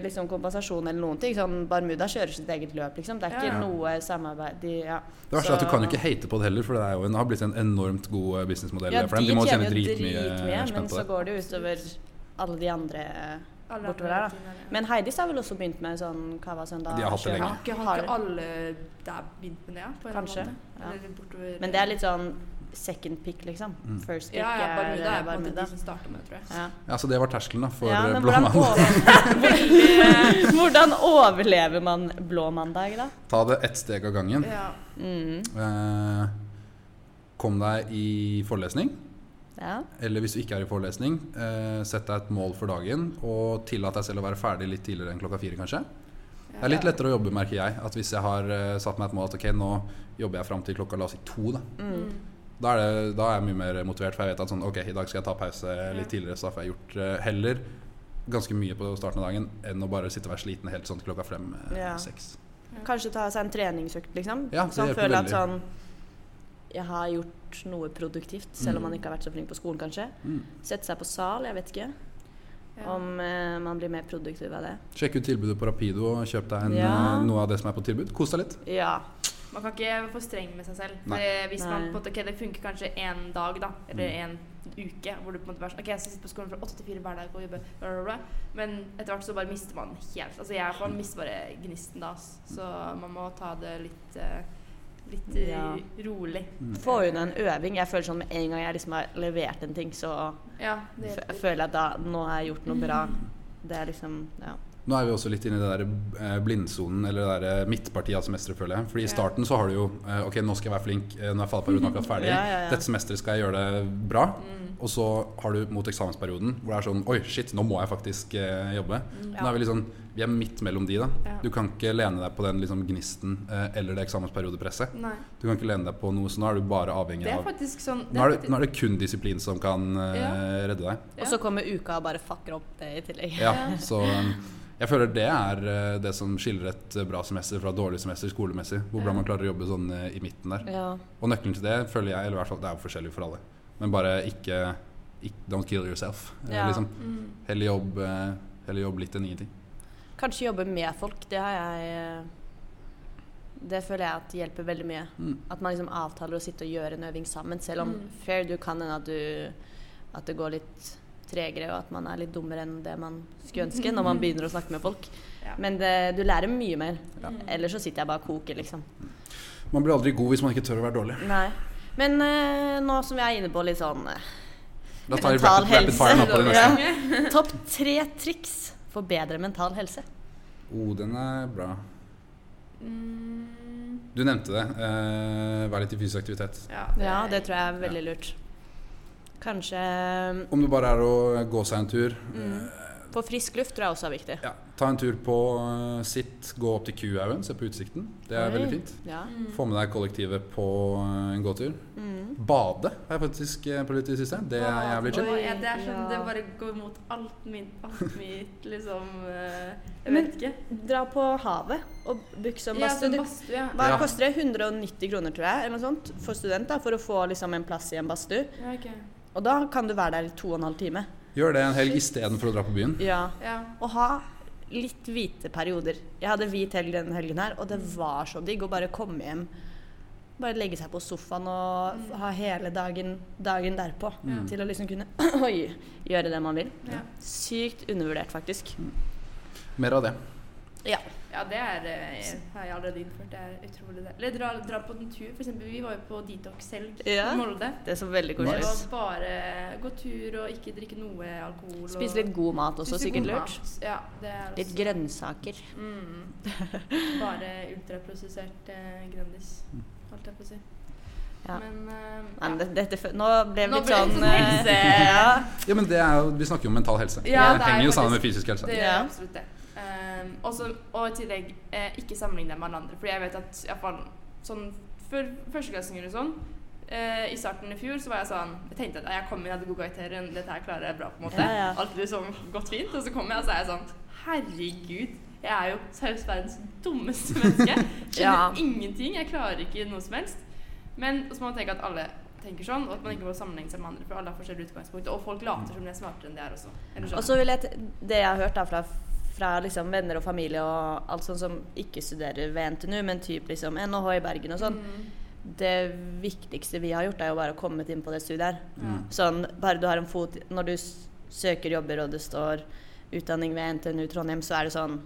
[SPEAKER 2] noe liksom, kompensasjon eller noen ting. Sånn, Barmuda kjører sitt eget løp, liksom. Det er ikke
[SPEAKER 3] Ja.
[SPEAKER 2] noe samarbeid de, ja.
[SPEAKER 1] Det verste er at
[SPEAKER 2] Så-
[SPEAKER 1] Du kan jo ikke hate på det heller, for det er jo en, har blitt en enormt god eh, businessmodell.
[SPEAKER 2] Ja,
[SPEAKER 1] for dem. de må tjene dritmye
[SPEAKER 2] dritmye,
[SPEAKER 1] spenn
[SPEAKER 2] men
[SPEAKER 1] på
[SPEAKER 2] så
[SPEAKER 1] det.
[SPEAKER 2] går det jo utover alle de andre eh,
[SPEAKER 3] Alle
[SPEAKER 2] bortover
[SPEAKER 3] andre
[SPEAKER 2] der,
[SPEAKER 3] rutiner,
[SPEAKER 2] da.
[SPEAKER 3] ja.
[SPEAKER 2] Men Heidis har vel også begynt med sånn Cava søndag?
[SPEAKER 1] De har hatt det
[SPEAKER 2] kjøring.
[SPEAKER 1] lenge.
[SPEAKER 3] Har ikke, har ikke alle der begynt med det? Ja, på en eller annen
[SPEAKER 2] Kanskje,
[SPEAKER 3] måte?
[SPEAKER 2] ja.
[SPEAKER 3] Eller bortover-
[SPEAKER 2] Men det er litt sånn second pick, liksom.
[SPEAKER 1] Mm.
[SPEAKER 2] First pick
[SPEAKER 3] ja, ja, Barmuda
[SPEAKER 2] er
[SPEAKER 3] er
[SPEAKER 2] eh,
[SPEAKER 3] på en måte de
[SPEAKER 2] Barmuda.
[SPEAKER 3] som starter med det, tror jeg.
[SPEAKER 2] Ja.
[SPEAKER 1] Ja, så det var terskelen da, for
[SPEAKER 2] ja,
[SPEAKER 1] eh, <laughs>
[SPEAKER 2] men
[SPEAKER 1] blå
[SPEAKER 2] hvordan,
[SPEAKER 1] mandag.
[SPEAKER 2] <laughs> over, hvordan overlever man blå mandag, da?
[SPEAKER 1] Ta det ett steg av gangen.
[SPEAKER 3] Ja.
[SPEAKER 2] Mm.
[SPEAKER 1] Eh, kom deg i forelesning,
[SPEAKER 2] Ja.
[SPEAKER 1] eller hvis du ikke er i forelesning, eh, sett deg et mål for dagen og tillat deg selv å være ferdig litt tidligere enn klokka fire, kanskje. Det er litt lettere å jobbe, merker jeg. At hvis jeg har eh, satt meg et mål at ok, nå jobber jeg fram til klokka la oss si to, da.
[SPEAKER 3] Mm.
[SPEAKER 1] Da er, det, da er jeg mye mer motivert, for jeg vet at sånn, ok, i dag skal jeg ta pause litt tidligere, så da får jeg gjort eh, heller ganske mye på starten av dagen enn å bare sitte og være sliten helt sånn til klokka frem eh,
[SPEAKER 2] Ja.
[SPEAKER 1] seks.
[SPEAKER 2] Kanskje ta seg en treningsøkt, liksom.
[SPEAKER 1] Ja, det
[SPEAKER 2] så han
[SPEAKER 1] hjelper
[SPEAKER 2] føler at
[SPEAKER 1] veldig.
[SPEAKER 2] sånn Jeg har gjort noe produktivt, selv om man ikke har vært så flink på skolen, kanskje.
[SPEAKER 1] Mm.
[SPEAKER 2] Sette seg på sal, jeg vet ikke
[SPEAKER 3] Ja.
[SPEAKER 2] om eh, man blir mer produktiv av det.
[SPEAKER 1] Sjekk ut tilbudet på Rapido og kjøp deg en,
[SPEAKER 2] Ja.
[SPEAKER 1] eh, noe av det som er på tilbud. Kos deg litt.
[SPEAKER 2] Ja.
[SPEAKER 3] Man kan ikke være for streng med seg selv. For
[SPEAKER 1] Nei.
[SPEAKER 3] det- hvis man
[SPEAKER 2] Nei.
[SPEAKER 3] på en måte, ok, Det funker kanskje én dag, da, eller
[SPEAKER 1] Mm.
[SPEAKER 3] én uke, hvor du på en måte bare sånn, Ok, jeg skal sitte på skolen fra åtte til fire hver dag og jobbe, bla, bla, bla. men etter hvert så bare mister man helt Altså Jeg man mister bare gnisten da, ass. så man må ta det litt eh, Litt eh,
[SPEAKER 2] Ja.
[SPEAKER 3] rolig.
[SPEAKER 1] Mm.
[SPEAKER 2] Få unna en øving. Jeg føler sånn med en gang jeg liksom har levert en ting, så
[SPEAKER 3] Ja, det
[SPEAKER 2] f-
[SPEAKER 3] hjelper.
[SPEAKER 2] føler jeg at da Nå har jeg gjort noe bra. Det er liksom Ja.
[SPEAKER 1] Nå er vi også litt inne i det der eh, blindsonen, eller det der eh, midtpartiet av semesteret, føler jeg. Fordi i
[SPEAKER 3] Ja.
[SPEAKER 1] starten så har du jo eh, Ok, nå skal jeg være flink. eh, Nå er fagperioden akkurat ferdig.
[SPEAKER 2] <laughs> Ja, ja, ja.
[SPEAKER 1] Dette semesteret skal jeg gjøre det bra.
[SPEAKER 3] Mm.
[SPEAKER 1] Og så har du mot eksamensperioden hvor det er sånn Oi, shit, nå må jeg faktisk eh, jobbe. Nå er vi litt sånn Vi er midt mellom de, da.
[SPEAKER 3] Ja.
[SPEAKER 1] Du kan ikke lene deg på den liksom, gnisten eh, eller det eksamensperiodepresset.
[SPEAKER 3] Nei.
[SPEAKER 1] Du kan ikke lene deg på noe, så nå er du bare avhengig
[SPEAKER 3] Det er
[SPEAKER 1] av
[SPEAKER 3] faktisk sånn
[SPEAKER 1] nå er, det, nå er det kun disiplin som kan eh,
[SPEAKER 3] Ja.
[SPEAKER 1] redde deg.
[SPEAKER 2] Og så kommer uka og bare fucker opp det i tillegg.
[SPEAKER 1] Ja,
[SPEAKER 3] Ja.
[SPEAKER 1] så um, jeg føler det er eh, det som skiller et eh, bra semester fra et dårlig semester skolemessig. Hvor bra
[SPEAKER 3] Ja.
[SPEAKER 1] man klarer å jobbe sånn eh, i midten der.
[SPEAKER 2] Ja.
[SPEAKER 1] Og nøkkelen til det føler jeg, eller i hvert fall det er jo forskjellig for alle, men bare ikke, ikk- Don't kill yourself. Eh,
[SPEAKER 2] Ja.
[SPEAKER 1] Liksom,
[SPEAKER 3] Mm.
[SPEAKER 1] heller, jobb, eh, heller jobb litt enn ingenting.
[SPEAKER 2] Kanskje jobbe med folk, det har jeg eh, Det føler jeg at hjelper veldig mye.
[SPEAKER 1] Mm.
[SPEAKER 2] At man liksom avtaler å sitte og gjøre en øving sammen, selv om
[SPEAKER 3] Mm.
[SPEAKER 2] fair du kan hende at du At det går litt tregere, og at man er litt dummere enn det man skulle ønske når man begynner å snakke med folk.
[SPEAKER 3] Ja.
[SPEAKER 2] Men det, du lærer mye mer.
[SPEAKER 1] Ja.
[SPEAKER 2] Ellers så sitter jeg bare og koker, liksom.
[SPEAKER 1] Man blir aldri god hvis man ikke tør å være dårlig.
[SPEAKER 2] Nei. Men eh, nå som vi er inne på litt sånn eh,
[SPEAKER 1] La oss ta i
[SPEAKER 2] Mental
[SPEAKER 1] rapid, rapid
[SPEAKER 2] helse.
[SPEAKER 1] fire nå på det neste.
[SPEAKER 2] Topp tre triks for bedre mental helse.
[SPEAKER 1] Oh, den er bra.
[SPEAKER 3] Mm.
[SPEAKER 1] Du nevnte det. eh, vær litt i fysisk aktivitet.
[SPEAKER 3] Ja,
[SPEAKER 2] Ja, det tror jeg er veldig lurt. Kanskje eh,
[SPEAKER 1] Om det bare er å gå seg en tur,
[SPEAKER 2] Mm. få frisk luft tror jeg også er viktig.
[SPEAKER 1] Ja, ta en tur på eh, sitt, gå opp til Kuhaugen, se på utsikten. Det er
[SPEAKER 2] Oi.
[SPEAKER 1] veldig fint.
[SPEAKER 2] Ja.
[SPEAKER 3] Mm.
[SPEAKER 1] Få med deg kollektivet på eh, en gåtur.
[SPEAKER 2] Mm.
[SPEAKER 1] Bade har jeg faktisk eh, prøvd i det siste. Det er jævlig chill.
[SPEAKER 2] chill.
[SPEAKER 3] Oi, ja, det er sånn,
[SPEAKER 2] Ja.
[SPEAKER 3] det bare går imot alt mitt, alt mitt liksom eh, Jeg
[SPEAKER 2] Men-
[SPEAKER 3] vet ikke.
[SPEAKER 2] Dra på havet og book som
[SPEAKER 3] Ja,
[SPEAKER 2] badstue.
[SPEAKER 3] sånn
[SPEAKER 2] Du-
[SPEAKER 3] badstue, ja.
[SPEAKER 2] Hva
[SPEAKER 1] Ja.
[SPEAKER 2] koster det? 190 kroner, tror jeg, eller noe sånt, for student da, for å få liksom, en plass i en badstue.
[SPEAKER 3] Ja, ok.
[SPEAKER 2] Og da kan du være der i to og en halv time.
[SPEAKER 1] Gjør det en helg istedenfor å dra på byen.
[SPEAKER 2] Ja.
[SPEAKER 3] Ja.
[SPEAKER 2] Og ha litt hvite perioder. Jeg hadde hvit helg denne helgen her, og det var så digg å bare komme hjem. Bare legge seg på sofaen og f- ha hele dagen, dagen derpå
[SPEAKER 1] Mm.
[SPEAKER 2] til å liksom kunne <clears throat> oi, gjøre det man vil.
[SPEAKER 3] Ja.
[SPEAKER 2] Sykt undervurdert, faktisk.
[SPEAKER 1] Mer av det.
[SPEAKER 2] Ja.
[SPEAKER 3] ja, det er, eh, har jeg allerede innført. Det er utrolig det. Eller dra, dra på en tur. For eksempel, vi var jo på detox-helg
[SPEAKER 2] Ja.
[SPEAKER 3] i Molde.
[SPEAKER 2] Det er så veldig
[SPEAKER 3] Det
[SPEAKER 2] koselig
[SPEAKER 3] var
[SPEAKER 2] ut.
[SPEAKER 3] bare gå tur og ikke drikke noe alkohol. og-
[SPEAKER 2] Spise litt god mat også,
[SPEAKER 3] Spise
[SPEAKER 2] sikkert
[SPEAKER 3] god
[SPEAKER 2] lurt.
[SPEAKER 3] mat. Ja, det er
[SPEAKER 2] Litt
[SPEAKER 3] også
[SPEAKER 2] grønnsaker. <laughs>
[SPEAKER 3] Mm. Bare ultraprosessert eh, Grandis, holdt jeg på å si.
[SPEAKER 2] Ja.
[SPEAKER 3] Men, eh,
[SPEAKER 2] Nei, men dette, dette, nå ble vi
[SPEAKER 3] Nå
[SPEAKER 2] litt
[SPEAKER 3] ble det
[SPEAKER 2] sånn
[SPEAKER 3] sånn
[SPEAKER 2] eh,
[SPEAKER 3] helse.
[SPEAKER 2] <laughs> ja.
[SPEAKER 1] Ja, men det er jo, Vi snakker jo om mental helse.
[SPEAKER 3] Ja,
[SPEAKER 1] det
[SPEAKER 3] det er
[SPEAKER 1] henger jo sammen
[SPEAKER 3] faktisk-
[SPEAKER 1] med fysisk helse.
[SPEAKER 3] <laughs> Det
[SPEAKER 2] <laughs>
[SPEAKER 3] gjør
[SPEAKER 2] Ja.
[SPEAKER 3] absolutt det. Ehm, også, og i tillegg, eh, ikke sammenligne deg med alle andre. Fordi jeg vet at i hvert fall sånn for førsteklassinger og sånn eh, I starten i fjor så var jeg sånn Jeg tenkte at jeg kom inn, jeg hadde gode karakterer, dette her klarer jeg bra, på en måte.
[SPEAKER 2] Ja, ja.
[SPEAKER 3] Alt liksom gått fint. Og så kom jeg, og så er jeg sånn Herregud, jeg er jo seriøst verdens dummeste
[SPEAKER 2] <laughs>
[SPEAKER 3] menneske.
[SPEAKER 2] Ja.
[SPEAKER 3] Skjønner ingenting. Jeg klarer ikke noe som helst. Men så må man tenke at alle tenker sånn, og at man ikke må sammenligne seg med andre. For alle har forskjellige utgangspunkt. Og folk later som de er smartere enn de er også. Eller sånn.
[SPEAKER 2] Og så vil jeg t- Det jeg har hørt da fra, fra liksom venner og familie og alt sånt som ikke studerer ved NTNU, men typ liksom NHH i Bergen og sånn,
[SPEAKER 3] Mm.
[SPEAKER 2] det viktigste vi har gjort, er jo bare å komme inn på det studiet her.
[SPEAKER 1] Mm.
[SPEAKER 2] Sånn, bare du har en fot Når du s- søker jobber og det står utdanning ved NTNU Trondheim, så er det sånn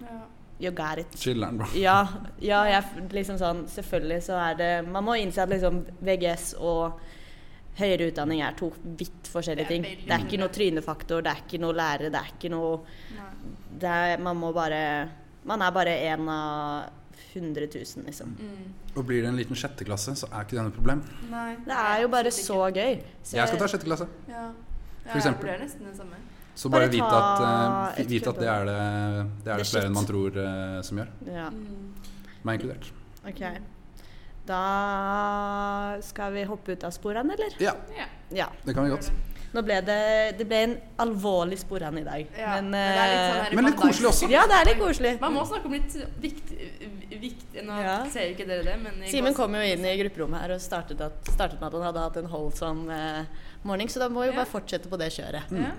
[SPEAKER 3] Ja.
[SPEAKER 2] You got it.
[SPEAKER 1] Chiller'n, bra.
[SPEAKER 2] Ja, ja jeg, f- liksom sånn, selvfølgelig så er det Man må innse at liksom VGS og høyere utdanning er to vidt forskjellige
[SPEAKER 3] Det er
[SPEAKER 2] ting.
[SPEAKER 3] veldig
[SPEAKER 2] Det er ikke noe trynefaktor, det er ikke noe lærere, det er ikke noe
[SPEAKER 3] Nei.
[SPEAKER 2] det er, Man må bare Man er bare en av 100 000, liksom.
[SPEAKER 3] Mm.
[SPEAKER 1] Og blir det en liten sjetteklasse, så er ikke det noe problem.
[SPEAKER 3] Nei.
[SPEAKER 2] Det er jo bare så gøy. Så
[SPEAKER 1] Jeg skal ta sjetteklasse.
[SPEAKER 3] Ja.
[SPEAKER 1] For
[SPEAKER 3] ja, jeg
[SPEAKER 1] eksempel.
[SPEAKER 3] vurderer nesten det samme.
[SPEAKER 1] Så
[SPEAKER 2] Bare
[SPEAKER 1] bare vit at,
[SPEAKER 2] ta
[SPEAKER 1] eh,
[SPEAKER 2] et
[SPEAKER 1] vit at det er det, det, er
[SPEAKER 2] Det
[SPEAKER 1] det flere
[SPEAKER 2] shit.
[SPEAKER 1] enn man tror eh, som gjør.
[SPEAKER 2] ja,
[SPEAKER 3] Mm.
[SPEAKER 1] Meg inkludert.
[SPEAKER 2] OK. Da skal vi hoppe ut av sporene, eller?
[SPEAKER 1] Ja,
[SPEAKER 3] Ja.
[SPEAKER 2] Ja.
[SPEAKER 1] det kan vi godt.
[SPEAKER 2] Nå ble det Det ble en alvorlig sporene i dag,
[SPEAKER 3] Ja.
[SPEAKER 2] men,
[SPEAKER 3] det er litt sånn
[SPEAKER 2] eh,
[SPEAKER 3] her i
[SPEAKER 1] Men litt
[SPEAKER 3] mandags-
[SPEAKER 1] koselig også.
[SPEAKER 2] Ja, det er litt koselig.
[SPEAKER 3] Man må snakke om litt vikt, vikt Nå
[SPEAKER 2] Ja.
[SPEAKER 3] ser ikke dere det, men i
[SPEAKER 2] Simen
[SPEAKER 3] gås-
[SPEAKER 2] kom jo inn i grupperommet her og startet, at, startet med at han hadde hatt en holdsom eh, morgen, så da må vi jo
[SPEAKER 3] Ja.
[SPEAKER 2] bare fortsette på det kjøret.
[SPEAKER 3] Ja.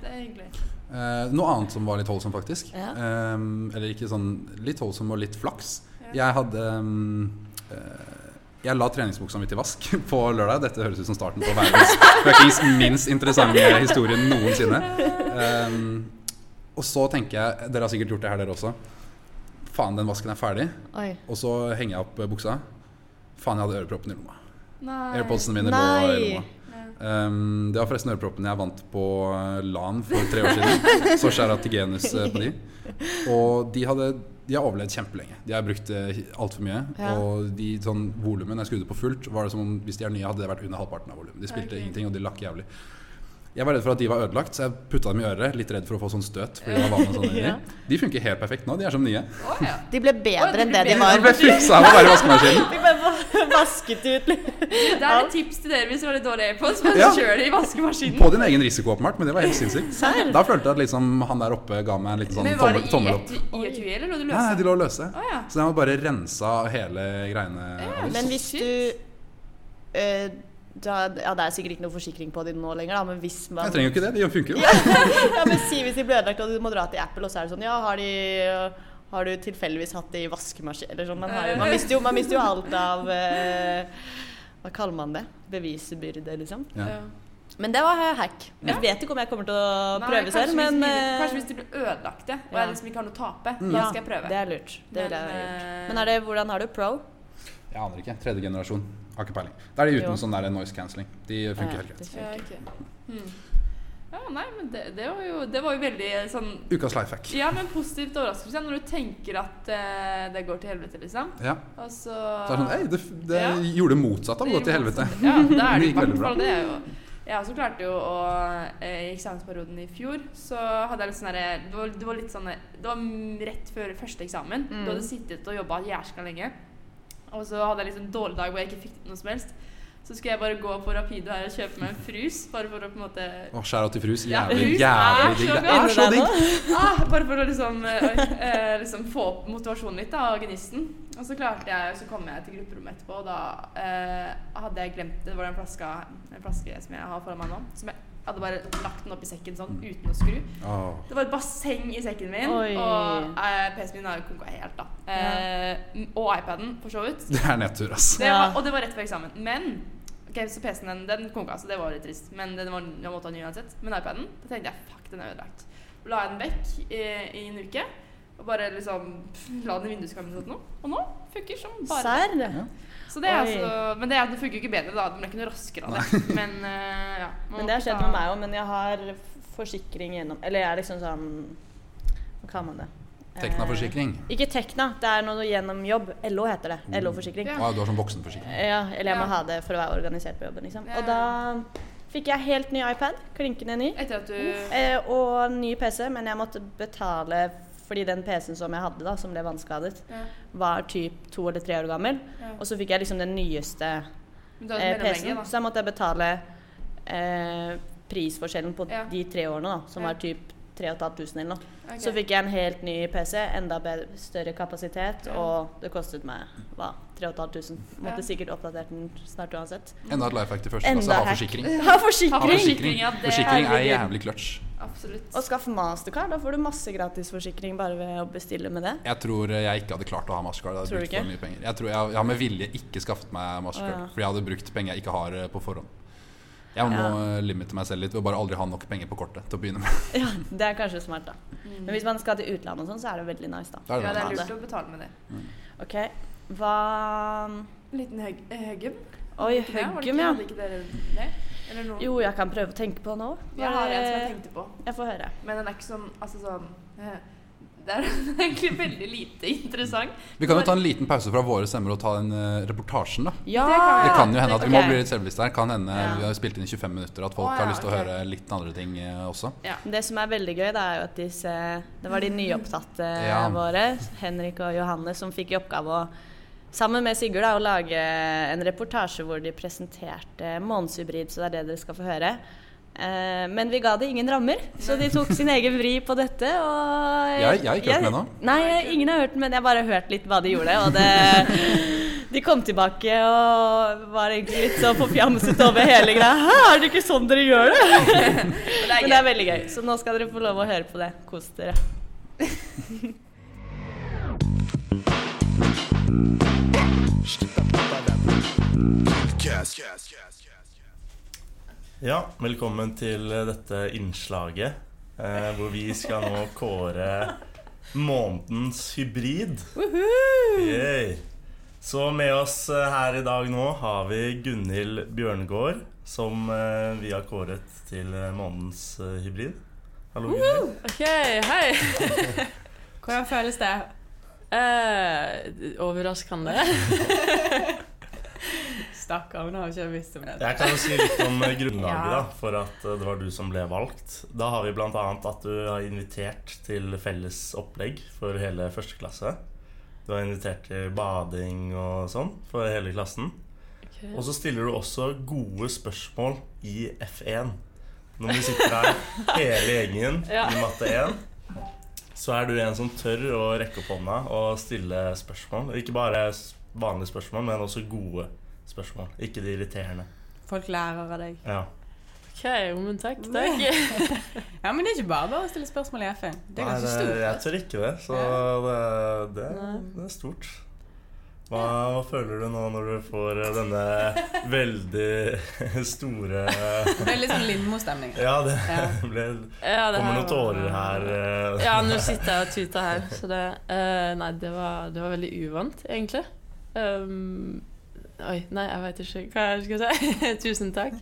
[SPEAKER 3] Det er hyggelig.
[SPEAKER 1] Eh, noe annet som var litt holdsom, faktisk.
[SPEAKER 2] Ja.
[SPEAKER 1] Ehm, eller ikke sånn Litt holdsom og litt flaks.
[SPEAKER 3] Ja.
[SPEAKER 1] Jeg hadde ehm, eh, Jeg la treningsbuksa mi til vask <laughs> på lørdag. Dette høres ut som starten på verdens fuckings minst interessante historie noensinne. Ehm, og så tenker jeg Dere har sikkert gjort det her, dere også. Faen, den vasken er ferdig.
[SPEAKER 2] Oi.
[SPEAKER 1] Og så henger jeg opp eh, buksa. Faen, jeg hadde øreproppen i lomma.
[SPEAKER 3] Nei.
[SPEAKER 1] Airpodsene mine lå i
[SPEAKER 2] Nei.
[SPEAKER 1] lomma.
[SPEAKER 3] Ja.
[SPEAKER 1] Ehm, det var forresten øreproppene jeg vant på eh, LAN for tre år siden. Så skjæra til genus eh, på de. Og de, hadde, de har overlevd kjempelenge. De har brukt det altfor mye.
[SPEAKER 2] Ja.
[SPEAKER 1] Og de sånn volumen jeg skrudde på fullt, var det som om hvis de er nye, hadde det vært under halvparten av volumet. De spilte
[SPEAKER 3] Ok.
[SPEAKER 1] ingenting, og de lakk jævlig. Jeg var redd for at de var ødelagt, så jeg putta dem i øret. Litt redd for å få sånn støt. Fordi det var vann og
[SPEAKER 2] <laughs>
[SPEAKER 1] sånn inni.
[SPEAKER 4] Ja.
[SPEAKER 1] De funker helt perfekt nå. De er som nye.
[SPEAKER 3] Å ja.
[SPEAKER 2] De ble
[SPEAKER 3] Oi,
[SPEAKER 2] bedre
[SPEAKER 3] de
[SPEAKER 2] enn
[SPEAKER 3] ble
[SPEAKER 2] det de
[SPEAKER 3] bedre.
[SPEAKER 1] De
[SPEAKER 2] var.
[SPEAKER 1] ble fiksa av å være i vaskemaskinen.
[SPEAKER 4] Vi
[SPEAKER 2] <laughs>
[SPEAKER 4] bare vasket ut
[SPEAKER 2] liksom.
[SPEAKER 4] litt.
[SPEAKER 3] Det er et tips til dere hvis dere har litt dårlig e-post, men
[SPEAKER 1] Ja.
[SPEAKER 3] kjør det i vaskemaskinen.
[SPEAKER 1] På din egen risiko, åpenbart, men det var helt sinnssykt. Da følte jeg at liksom, han der oppe ga meg en liten sånn
[SPEAKER 3] Men var det
[SPEAKER 1] tommel, tommel
[SPEAKER 3] i
[SPEAKER 1] opp.
[SPEAKER 3] et i et tue, eller lå det
[SPEAKER 1] Nei, nei, de
[SPEAKER 3] løse?
[SPEAKER 1] lå løse.
[SPEAKER 3] Å ja.
[SPEAKER 1] Så den var bare rensa hele greiene. av
[SPEAKER 2] Men
[SPEAKER 1] oss.
[SPEAKER 2] hvis du eh, da, Ja, det er sikkert ikke noe forsikring på de nå lenger, da, men hvis man
[SPEAKER 1] Jeg trenger jo ikke det. De funker jo.
[SPEAKER 2] <laughs> Ja, men si hvis de ble ødelagt og du må dra til Apple, og så er det sånn Ja, har de har du tilfeldigvis hatt det i vaskemaskin Eller sånn, man, har jo, man,
[SPEAKER 3] Eh.
[SPEAKER 2] mister jo, man mister jo alt av eh, Hva kaller man det? Bevisbyrde, liksom.
[SPEAKER 1] Ja.
[SPEAKER 3] Ja.
[SPEAKER 2] Men det var hack.
[SPEAKER 3] Ja.
[SPEAKER 2] Jeg vet ikke om jeg kommer til å
[SPEAKER 3] Nei,
[SPEAKER 2] prøve
[SPEAKER 3] kanskje
[SPEAKER 2] selv, men
[SPEAKER 3] hvis de-
[SPEAKER 2] eh,
[SPEAKER 3] Kanskje hvis de blir ødelagt det, og
[SPEAKER 2] ja.
[SPEAKER 3] jeg liksom ikke har noe å tape.
[SPEAKER 1] Mm.
[SPEAKER 3] Da
[SPEAKER 2] ja,
[SPEAKER 3] skal jeg prøve.
[SPEAKER 2] Det er lurt. Det ville jeg gjort.
[SPEAKER 3] eh,
[SPEAKER 2] Men er det, hvordan har du pro?
[SPEAKER 1] Jeg aner ikke. Tredje generasjon. Har ikke peiling. Da er de uten
[SPEAKER 2] Jo.
[SPEAKER 1] sånn der noise cancelling. De funker helt greit.
[SPEAKER 2] Eh,
[SPEAKER 3] ja, ok. Hmm. ja, nei, men det, det, var jo, det var jo veldig eh, sånn
[SPEAKER 1] Ukas life hack.
[SPEAKER 3] Ja, men positivt overraskelse når du tenker at eh, det går til helvete, liksom.
[SPEAKER 1] Ja.
[SPEAKER 3] Og så
[SPEAKER 1] Så er det sånn Ei, det, det
[SPEAKER 3] Ah. Ja.
[SPEAKER 1] gjorde motsatt av å gå til helvete.
[SPEAKER 3] Ja, da
[SPEAKER 1] <laughs>
[SPEAKER 3] er
[SPEAKER 1] Det
[SPEAKER 3] det i
[SPEAKER 1] gikk
[SPEAKER 3] hvert
[SPEAKER 1] veldig bra.
[SPEAKER 3] fall det. er jo jeg også klarte jo å eh, I eksamensperioden i fjor så hadde jeg litt sånn derre det, var- det var litt sånn Det var mm, rett før første eksamen.
[SPEAKER 2] Mm.
[SPEAKER 3] Du hadde sittet og jobba jæskla lenge. Og så hadde jeg liksom en dårlig dag hvor jeg ikke fikk noe som helst. Så skulle jeg bare gå på Rapido her og kjøpe meg en frus. Bare for å på en måte
[SPEAKER 1] Å, skjæra til frus.
[SPEAKER 3] Ja,
[SPEAKER 1] Jævlig,
[SPEAKER 3] frus
[SPEAKER 1] jævlig digg.
[SPEAKER 3] er så
[SPEAKER 1] Det
[SPEAKER 3] godt.
[SPEAKER 1] er så digg.
[SPEAKER 3] ah, Bare for å liksom, eh, eh, liksom få opp motivasjonen litt da, og gnisten. Og så klarte jeg, så kom jeg til grupperommet etterpå, og da eh, hadde jeg glemt Det var en flaske, en flaske som jeg har foran meg nå. Som jeg hadde bare lagt den opp i sekken sånn uten å skru.
[SPEAKER 1] Åh.
[SPEAKER 3] Det var et basseng i sekken min,
[SPEAKER 2] Oi.
[SPEAKER 3] og eh, PC-en min har jo konka helt, da. Eh, Og iPaden, for så vidt.
[SPEAKER 1] Det er nedtur, ass.
[SPEAKER 3] Det
[SPEAKER 2] Ja.
[SPEAKER 3] var, og det var rett før eksamen. Men ok, så PC-en den, den konka, så det var litt trist. Men den var, jeg måtte ha ny uansett. Men iPaden da tenkte jeg fuck, den er ødelagt. La jeg den vekk i, i en uke. Og bare liksom pff, la den i vinduskarmen eller noe. Og nå funker som bare
[SPEAKER 2] Serr?
[SPEAKER 3] Så det er
[SPEAKER 2] Oi.
[SPEAKER 3] altså, Men det, er- det funker jo ikke bedre, da. Den ble ikke noe raskere av det. <laughs> Men eh, ja. man
[SPEAKER 2] Men det har
[SPEAKER 3] må ikke
[SPEAKER 2] skjedd
[SPEAKER 3] ta-
[SPEAKER 2] med meg òg, men jeg har f- forsikring gjennom Eller jeg er liksom sånn Hva kaller man det? Eh,
[SPEAKER 1] Tekna-forsikring.
[SPEAKER 2] Ikke Tekna, det er noe gjennom jobb. LO heter det.
[SPEAKER 1] Mm.
[SPEAKER 2] LO-forsikring.
[SPEAKER 3] Ja.
[SPEAKER 1] Å, du har sånn voksenforsikring.
[SPEAKER 2] Ja, eller jeg må
[SPEAKER 3] Ja.
[SPEAKER 2] ha det for å være organisert på jobben, liksom.
[SPEAKER 3] Ja,
[SPEAKER 2] Og da fikk jeg helt ny iPad, klinkende ny,
[SPEAKER 3] Etter at du
[SPEAKER 2] eh, og ny PC, men jeg måtte betale fordi den PC-en som jeg hadde, da, som ble vannskadet,
[SPEAKER 3] ja,
[SPEAKER 2] var typ to eller tre år gammel.
[SPEAKER 3] ja.
[SPEAKER 2] Og så fikk jeg liksom den nyeste
[SPEAKER 3] Men du hadde
[SPEAKER 2] eh,
[SPEAKER 3] mellomlenge,
[SPEAKER 2] PC-en,
[SPEAKER 3] da.
[SPEAKER 2] så da måtte jeg betale eh, prisforskjellen på
[SPEAKER 3] Ja.
[SPEAKER 2] de tre årene, da, som
[SPEAKER 3] Ja.
[SPEAKER 2] var typ 3500 eller noe.
[SPEAKER 3] Ok.
[SPEAKER 2] Så fikk jeg en helt ny PC, enda bedre, større kapasitet,
[SPEAKER 3] Ja.
[SPEAKER 2] og det kostet meg hva, 3500.
[SPEAKER 3] Ja.
[SPEAKER 2] Måtte sikkert oppdatert den snart uhansett.
[SPEAKER 1] Enda et life hack til første
[SPEAKER 2] Enda
[SPEAKER 1] klasse. Ha
[SPEAKER 2] hack. <laughs>
[SPEAKER 1] forsikring.
[SPEAKER 2] Ha
[SPEAKER 3] Ha
[SPEAKER 1] Ha
[SPEAKER 2] forsikring!
[SPEAKER 1] forsikring.
[SPEAKER 3] forsikring, ja, det er
[SPEAKER 1] Forsikring er
[SPEAKER 3] herregud.
[SPEAKER 1] jævlig clutch.
[SPEAKER 3] Absolutt.
[SPEAKER 2] Og skaff mastercard. Da får du masse gratisforsikring bare ved å bestille med det.
[SPEAKER 1] Jeg tror jeg ikke hadde klart å ha Mastercard. Jeg hadde
[SPEAKER 2] Tror du
[SPEAKER 1] brukt for
[SPEAKER 2] ikke?
[SPEAKER 1] mye penger. Jeg tror jeg, jeg har med vilje ikke skaffet meg Mastercard,
[SPEAKER 2] Å, ja.
[SPEAKER 1] fordi jeg hadde brukt penger jeg ikke har eh, på forhånd. Jeg må
[SPEAKER 2] Ja.
[SPEAKER 1] eh, limite meg selv litt ved å bare aldri ha nok penger på kortet til å begynne med.
[SPEAKER 2] Ja, Det er kanskje smart, da.
[SPEAKER 3] Mm.
[SPEAKER 2] Men hvis man skal til utlandet og sånn, så er det veldig nice, da.
[SPEAKER 1] Da er
[SPEAKER 3] Ja,
[SPEAKER 1] det
[SPEAKER 3] det
[SPEAKER 1] noe
[SPEAKER 3] er
[SPEAKER 1] annet.
[SPEAKER 3] lurt å betale med det.
[SPEAKER 2] Ok, hva
[SPEAKER 3] Liten høg- eh, høggum.
[SPEAKER 2] Oi,
[SPEAKER 3] Ikke det? Var det
[SPEAKER 2] høggum,
[SPEAKER 3] ikke-
[SPEAKER 2] ja.
[SPEAKER 3] Hadde ikke dere det? Eller noe?
[SPEAKER 2] Jo, jeg kan prøve å tenke på nå.
[SPEAKER 3] Jeg har en som jeg tenkte på,
[SPEAKER 2] Jeg får høre.
[SPEAKER 3] men den er ikke sånn Altså sånn <laughs> eh, Det er <laughs> egentlig veldig lite interessant.
[SPEAKER 1] Vi kan jo ta en liten pause fra våre stemmer og ta den eh, reportasjen, da.
[SPEAKER 2] Ja!
[SPEAKER 3] kan vi.
[SPEAKER 1] Det kan jo hende at vi må
[SPEAKER 2] Ok.
[SPEAKER 1] bli litt selvbevisste her. Kan hende
[SPEAKER 2] Ja.
[SPEAKER 1] vi har spilt inn i 25 minutter at
[SPEAKER 3] Å,
[SPEAKER 1] folk
[SPEAKER 3] ja,
[SPEAKER 1] har lyst til å
[SPEAKER 3] ok.
[SPEAKER 1] høre litt andre ting eh, også.
[SPEAKER 2] Det som er veldig gøy, det er jo at disse Det var de nyopptatte
[SPEAKER 1] Ja.
[SPEAKER 2] våre, Henrik og Johanne, som fikk i oppgave å Sammen med Sigurd da, å lage en reportasje hvor de presenterte månedshybrid, så det er det dere skal få høre. Eh, men vi ga det ingen rammer, så de tok sin egen vri på dette. Og
[SPEAKER 1] Jeg- jeg har ikke hørt den ennå.
[SPEAKER 2] Nei, jeg- ingen har hørt den, men jeg har bare hørt litt hva de gjorde. Og det, de kom tilbake og var egentlig litt så forfjamset over hele greia. Hæ, er det ikke sånn dere gjør det?
[SPEAKER 1] <laughs>
[SPEAKER 2] Men det er veldig gøy, så nå skal dere få lov å høre på det. Kos dere.
[SPEAKER 5] Ja, velkommen til dette innslaget eh, hvor vi skal nå kåre månedens hybrid. Yay. Så med oss eh, her i dag nå har vi Gunhild Bjørngård, som eh, vi har kåret til eh, månedens eh, hybrid. Hallo, Gunhild.
[SPEAKER 6] Ok,
[SPEAKER 1] <laughs>
[SPEAKER 6] hei! Hvordan føles det?
[SPEAKER 1] <laughs>
[SPEAKER 6] Eh, overraskende.
[SPEAKER 7] Stakkar, hun har jo ikke visst om det.
[SPEAKER 5] Jeg kan jo si litt om eh, grunnlaget
[SPEAKER 3] Ja.
[SPEAKER 5] da, for at eh, det var du som ble valgt. Da har vi bl.a. at du har invitert til felles opplegg for hele første klasse. Du har invitert til bading og sånn for hele klassen. Og så stiller du også gode spørsmål i F1. Når vi sitter her hele gjengen i matte 1, så er du en som tør å rekke opp hånda og stille spørsmål. Ikke bare s- vanlige spørsmål, men også gode spørsmål. Ikke de irriterende.
[SPEAKER 7] Folk lærer av deg.
[SPEAKER 5] Ja.
[SPEAKER 2] OK, jo, men takk, takk.
[SPEAKER 7] <laughs> Ja, men det er ikke bare bare å stille spørsmål i FN. Det er
[SPEAKER 5] Nei,
[SPEAKER 7] ganske
[SPEAKER 5] det-
[SPEAKER 7] stort.
[SPEAKER 5] Jeg tør ikke det, så det, det, det er stort. Hva, hva føler du nå når du får eh, denne veldig store
[SPEAKER 3] <laughs>
[SPEAKER 7] Det er litt sånn Lindmo-stemning.
[SPEAKER 5] Ja, det
[SPEAKER 7] Ja.
[SPEAKER 5] <laughs> ble,
[SPEAKER 2] Ja, det
[SPEAKER 5] kommer
[SPEAKER 2] her
[SPEAKER 5] noen tårer
[SPEAKER 2] var-
[SPEAKER 5] her. eh.
[SPEAKER 2] Ja, nå sitter jeg og tuter her, så det eh, Nei, det var, det var veldig uvant, egentlig. Um, oi, nei, jeg veit ikke hva jeg skal si. <laughs> Tusen takk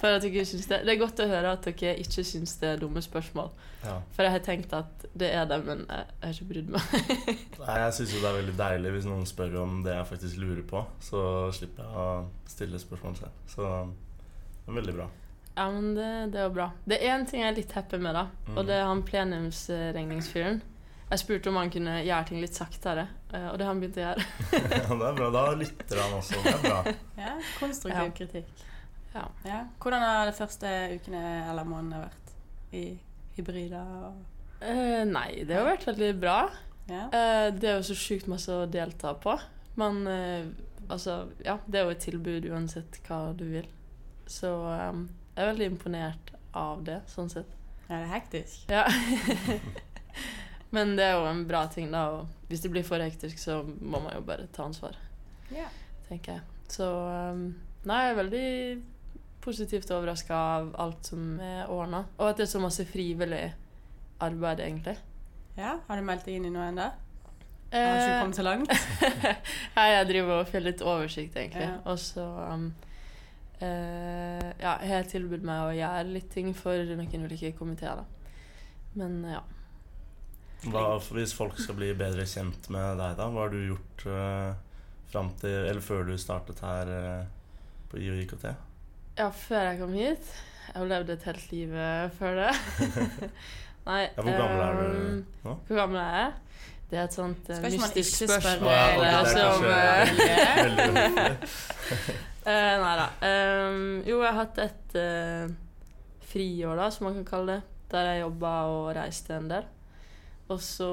[SPEAKER 2] for at dere syns det. Det er godt å høre at dere ikke syns det er dumme spørsmål.
[SPEAKER 5] <laughs> Ja.
[SPEAKER 2] For jeg har tenkt at det er det, men jeg jeg har ikke brydd meg.
[SPEAKER 5] Nei, Jeg syns jo det er veldig deilig hvis noen spør om det jeg faktisk lurer på. Så slipper jeg å stille spørsmål selv. Så det er veldig bra. <laughs>
[SPEAKER 2] Ja, men det, det er jo bra. Det er én ting jeg er litt happy med, da. Og det er han plenumsregningsfyren. Jeg spurte om han kunne gjøre ting litt saktere, eh, og det har han begynt å gjøre.
[SPEAKER 5] Ja, det er bra. Da lytter han også. Det er bra.
[SPEAKER 7] Ja,
[SPEAKER 2] Ja.
[SPEAKER 7] konstruktiv kritikk. Ja. Hvordan har de første ukene eller månedene vært? I hybrider og
[SPEAKER 2] Eh, nei, det har vært veldig bra.
[SPEAKER 7] Ja.
[SPEAKER 2] Eh, det er jo så sjukt masse å delta på. Men eh, altså, ja, det er jo et tilbud uansett hva du vil. Så eh, jeg er veldig imponert av det, sånn sett.
[SPEAKER 7] ja, det er hektisk.
[SPEAKER 2] Ja. <laughs> Men det er jo en bra ting, da. Og hvis det blir for hektisk, så må man jo bare ta ansvar,
[SPEAKER 7] Ja.
[SPEAKER 2] tenker jeg. Så um, nei, jeg er veldig positivt overraska av alt som er ordna. Og at det er så masse frivillig arbeid, egentlig.
[SPEAKER 7] ja. Har du meldt deg inn i noe ennå? Har du ikke
[SPEAKER 2] Eh,
[SPEAKER 7] kommet så langt?
[SPEAKER 2] <laughs> Nei, jeg driver og får litt oversikt, egentlig.
[SPEAKER 7] Ja.
[SPEAKER 2] Og så um, eh, ja, jeg har tilbudt meg å gjøre litt ting for noen ulike komiteer, da. Men ja.
[SPEAKER 5] Hva, hvis folk skal bli bedre kjent med deg, da, hva har du gjort eh, fram til Eller før du startet her eh, på IO IKT?
[SPEAKER 2] Ja, før jeg kom hit. Jeg har levd et helt liv eh, før
[SPEAKER 7] <laughs>
[SPEAKER 2] det. Nei
[SPEAKER 5] Ja, hvor gammel er du
[SPEAKER 2] ehm,
[SPEAKER 5] nå?
[SPEAKER 2] Hvor gammel er jeg? Det er et sånt eh,
[SPEAKER 7] Skal ikke man
[SPEAKER 2] mystisk
[SPEAKER 7] ikke spørre
[SPEAKER 2] spørsmål. eh,
[SPEAKER 5] Å, ja, ok, det er altså
[SPEAKER 2] som,
[SPEAKER 5] kanskje-
[SPEAKER 2] eh,
[SPEAKER 5] <laughs> Veldig uhøflig.
[SPEAKER 2] eh, nei da. Ehm, jo, jeg har hatt et eh, friår, da, som man kan kalle det, der jeg jobba og reiste en del. Og så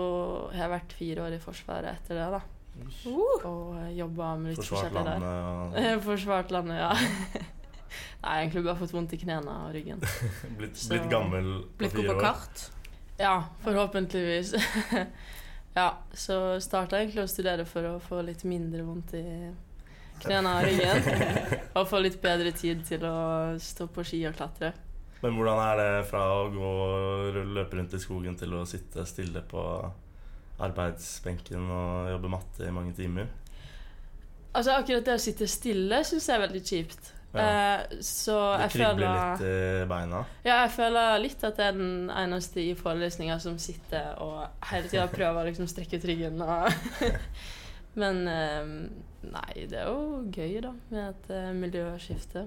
[SPEAKER 2] har jeg vært fire år i Forsvaret etter det, da. Og jobba med litt
[SPEAKER 5] Forsvart
[SPEAKER 2] forskjellig der.
[SPEAKER 5] landet
[SPEAKER 2] Eh, <laughs> Forsvart landet, ja. Nei, egentlig bare fått vondt i knærne og ryggen.
[SPEAKER 5] og <laughs> blitt,
[SPEAKER 2] Så-
[SPEAKER 5] blitt gammel på
[SPEAKER 7] Blitt god
[SPEAKER 5] fire
[SPEAKER 7] på
[SPEAKER 5] år.
[SPEAKER 7] kart?
[SPEAKER 2] Ja, forhåpentligvis. <laughs> ja, så starta jeg egentlig å studere for å få litt mindre vondt i knærne og
[SPEAKER 5] <laughs>
[SPEAKER 2] ryggen. og få litt bedre tid til å stå på ski og klatre.
[SPEAKER 5] Men hvordan er det fra å gå og løpe rundt i skogen til å sitte stille på arbeidsbenken og jobbe matte i mange timer?
[SPEAKER 2] Altså Akkurat det å sitte stille syns jeg er veldig kjipt.
[SPEAKER 5] Ja.
[SPEAKER 2] Eh, så
[SPEAKER 5] Det
[SPEAKER 2] jeg
[SPEAKER 5] kribler
[SPEAKER 2] føler,
[SPEAKER 5] litt eh. i beina.
[SPEAKER 2] ja, jeg føler litt at jeg er den eneste i forelesninga som sitter og hele
[SPEAKER 5] <laughs>
[SPEAKER 2] tida prøver å liksom strekke ut ryggen. Og <laughs> Men eh, nei, det er jo gøy, da, med et eh, miljøskifte.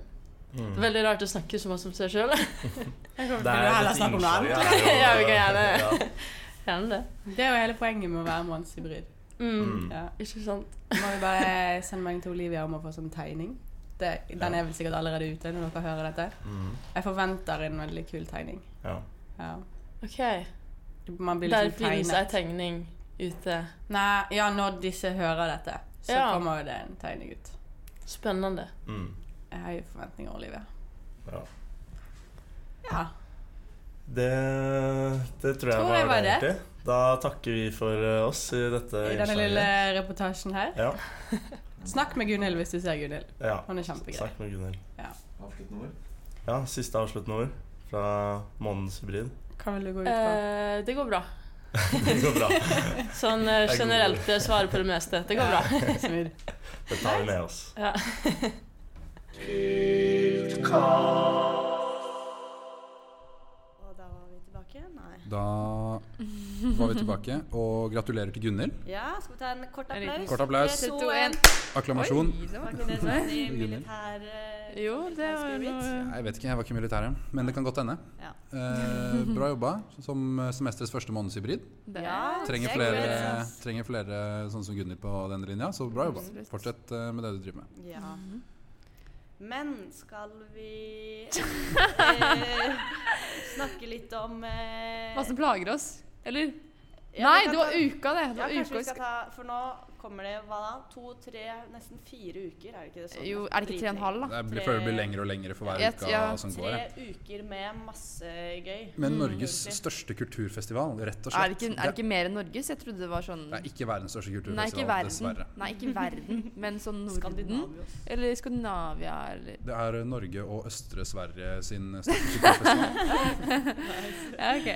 [SPEAKER 5] Mm.
[SPEAKER 2] Veldig rart å snakke så mye om seg sjøl.
[SPEAKER 5] Det er
[SPEAKER 7] heller
[SPEAKER 5] dette
[SPEAKER 7] snakke om noe annet.
[SPEAKER 5] innslaget er jo-
[SPEAKER 2] <laughs> Ja, vi kan gjerne-
[SPEAKER 5] Ja.
[SPEAKER 2] <laughs> Gjerne det.
[SPEAKER 7] Det er jo hele poenget med å være månedshybrid.
[SPEAKER 2] Mm.
[SPEAKER 5] Mm.
[SPEAKER 7] Ja.
[SPEAKER 2] Ikke sant?
[SPEAKER 7] Må jo bare sende meg til Olivia om å få sånn tegning. Det, den
[SPEAKER 5] Ja.
[SPEAKER 7] er vel sikkert allerede ute når dere hører dette.
[SPEAKER 5] Mm.
[SPEAKER 7] Jeg forventer en veldig kul tegning.
[SPEAKER 5] Ja.
[SPEAKER 7] Ja.
[SPEAKER 2] Ok,
[SPEAKER 7] Man blir
[SPEAKER 2] Der
[SPEAKER 7] liksom
[SPEAKER 2] finnes ei
[SPEAKER 7] tegnet.
[SPEAKER 2] tegning ute.
[SPEAKER 7] Nei, ja, når disse hører dette, så
[SPEAKER 2] Ja.
[SPEAKER 7] kommer jo det en tegning ut.
[SPEAKER 2] Spennende.
[SPEAKER 5] Mm.
[SPEAKER 7] Jeg har jo forventninger, Olivia.
[SPEAKER 5] ja.
[SPEAKER 7] Ja.
[SPEAKER 5] Det, det tror jeg
[SPEAKER 7] Tror
[SPEAKER 5] var,
[SPEAKER 7] jeg var
[SPEAKER 5] det,
[SPEAKER 7] det.
[SPEAKER 5] egentlig. Da takker vi for eh, oss i dette
[SPEAKER 7] I denne lille reportasjen her.
[SPEAKER 5] Ja.
[SPEAKER 7] <laughs> Snakk med Gunhild hvis du ser Gunhild.
[SPEAKER 5] ja.
[SPEAKER 7] Hun er kjempegrei.
[SPEAKER 5] Snakk med Gunhild.
[SPEAKER 8] Avsluttende ord.
[SPEAKER 5] Ja, siste avsluttende ord fra månedens
[SPEAKER 7] <laughs>
[SPEAKER 5] hybrid.
[SPEAKER 7] Hva vil du gå ut på?
[SPEAKER 2] Eh, det går bra.
[SPEAKER 5] Det går bra.
[SPEAKER 2] Sånn eh,
[SPEAKER 5] Det er god.
[SPEAKER 2] generelt eh, svaret på det meste. Det går bra.
[SPEAKER 7] <laughs> Smid.
[SPEAKER 5] Det tar vi med oss.
[SPEAKER 2] Ja.
[SPEAKER 1] Og da var vi tilbake? Nei.
[SPEAKER 9] Da
[SPEAKER 1] var vi tilbake. Og gratulerer til Gunhild.
[SPEAKER 2] Ja, skal vi ta en kort
[SPEAKER 10] En liten-
[SPEAKER 2] applaus?
[SPEAKER 1] Kort applaus.
[SPEAKER 2] Tre, to,
[SPEAKER 3] To,
[SPEAKER 2] en.
[SPEAKER 3] en.
[SPEAKER 1] Akklamasjon.
[SPEAKER 2] Var ikke det sånn i militær... eh,
[SPEAKER 11] Jo, det
[SPEAKER 2] militær
[SPEAKER 11] var jo
[SPEAKER 2] spirit?
[SPEAKER 11] noe
[SPEAKER 1] Jeg vet ikke, jeg var ikke i militæret, men det kan godt hende.
[SPEAKER 2] Ja.
[SPEAKER 1] Eh, bra
[SPEAKER 3] <laughs>
[SPEAKER 1] jobba som eh, semesterets første månedshybrid.
[SPEAKER 2] Ja,
[SPEAKER 1] Trenger
[SPEAKER 2] det er
[SPEAKER 1] flere,
[SPEAKER 2] good.
[SPEAKER 1] trenger flere sånn som Gunnhild på den linja, så bra jobba.
[SPEAKER 3] Absolutt.
[SPEAKER 1] Fortsett eh, med det du driver med.
[SPEAKER 2] Ja.
[SPEAKER 12] Mhm.
[SPEAKER 2] Men skal
[SPEAKER 12] <laughs>
[SPEAKER 2] vi eh, snakke litt om eh,
[SPEAKER 12] Hva som plager oss? Eller?
[SPEAKER 2] ja,
[SPEAKER 12] Nei,
[SPEAKER 2] vi kan
[SPEAKER 12] det var
[SPEAKER 2] ta-
[SPEAKER 12] uka, det.
[SPEAKER 2] Ja,
[SPEAKER 12] det
[SPEAKER 2] kanskje
[SPEAKER 12] var
[SPEAKER 2] vi
[SPEAKER 12] uka.
[SPEAKER 2] skal ta For nå kommer det hva da? To, tre, nesten fire uker, er det ikke det sånn?
[SPEAKER 12] Jo, er det ikke tre og en halv, da?
[SPEAKER 1] Det blir, føler det blir lengre og lengre for hver
[SPEAKER 12] Jeg-
[SPEAKER 1] uke
[SPEAKER 12] ja,
[SPEAKER 1] som Sånn går. jeg.
[SPEAKER 2] Tre uker med masse gøy.
[SPEAKER 1] Men Norges
[SPEAKER 2] egentlig.
[SPEAKER 1] største kulturfestival, rett og slett.
[SPEAKER 3] Er det, ikke, er det ikke mer enn Norges? Jeg trodde det var sånn
[SPEAKER 1] Det er ikke verdens største
[SPEAKER 3] Nei, ikke
[SPEAKER 1] kulturfestival,
[SPEAKER 3] verden.
[SPEAKER 1] dessverre.
[SPEAKER 3] Nei, ikke verden, men sånn Norden.
[SPEAKER 2] Skandinavios.
[SPEAKER 12] <laughs>
[SPEAKER 3] Eller Skandinavia, eller
[SPEAKER 1] Det er Norge og Østre Sverige sin
[SPEAKER 3] <laughs>
[SPEAKER 1] største kulturfestival.
[SPEAKER 2] <laughs>
[SPEAKER 3] Ja, ok.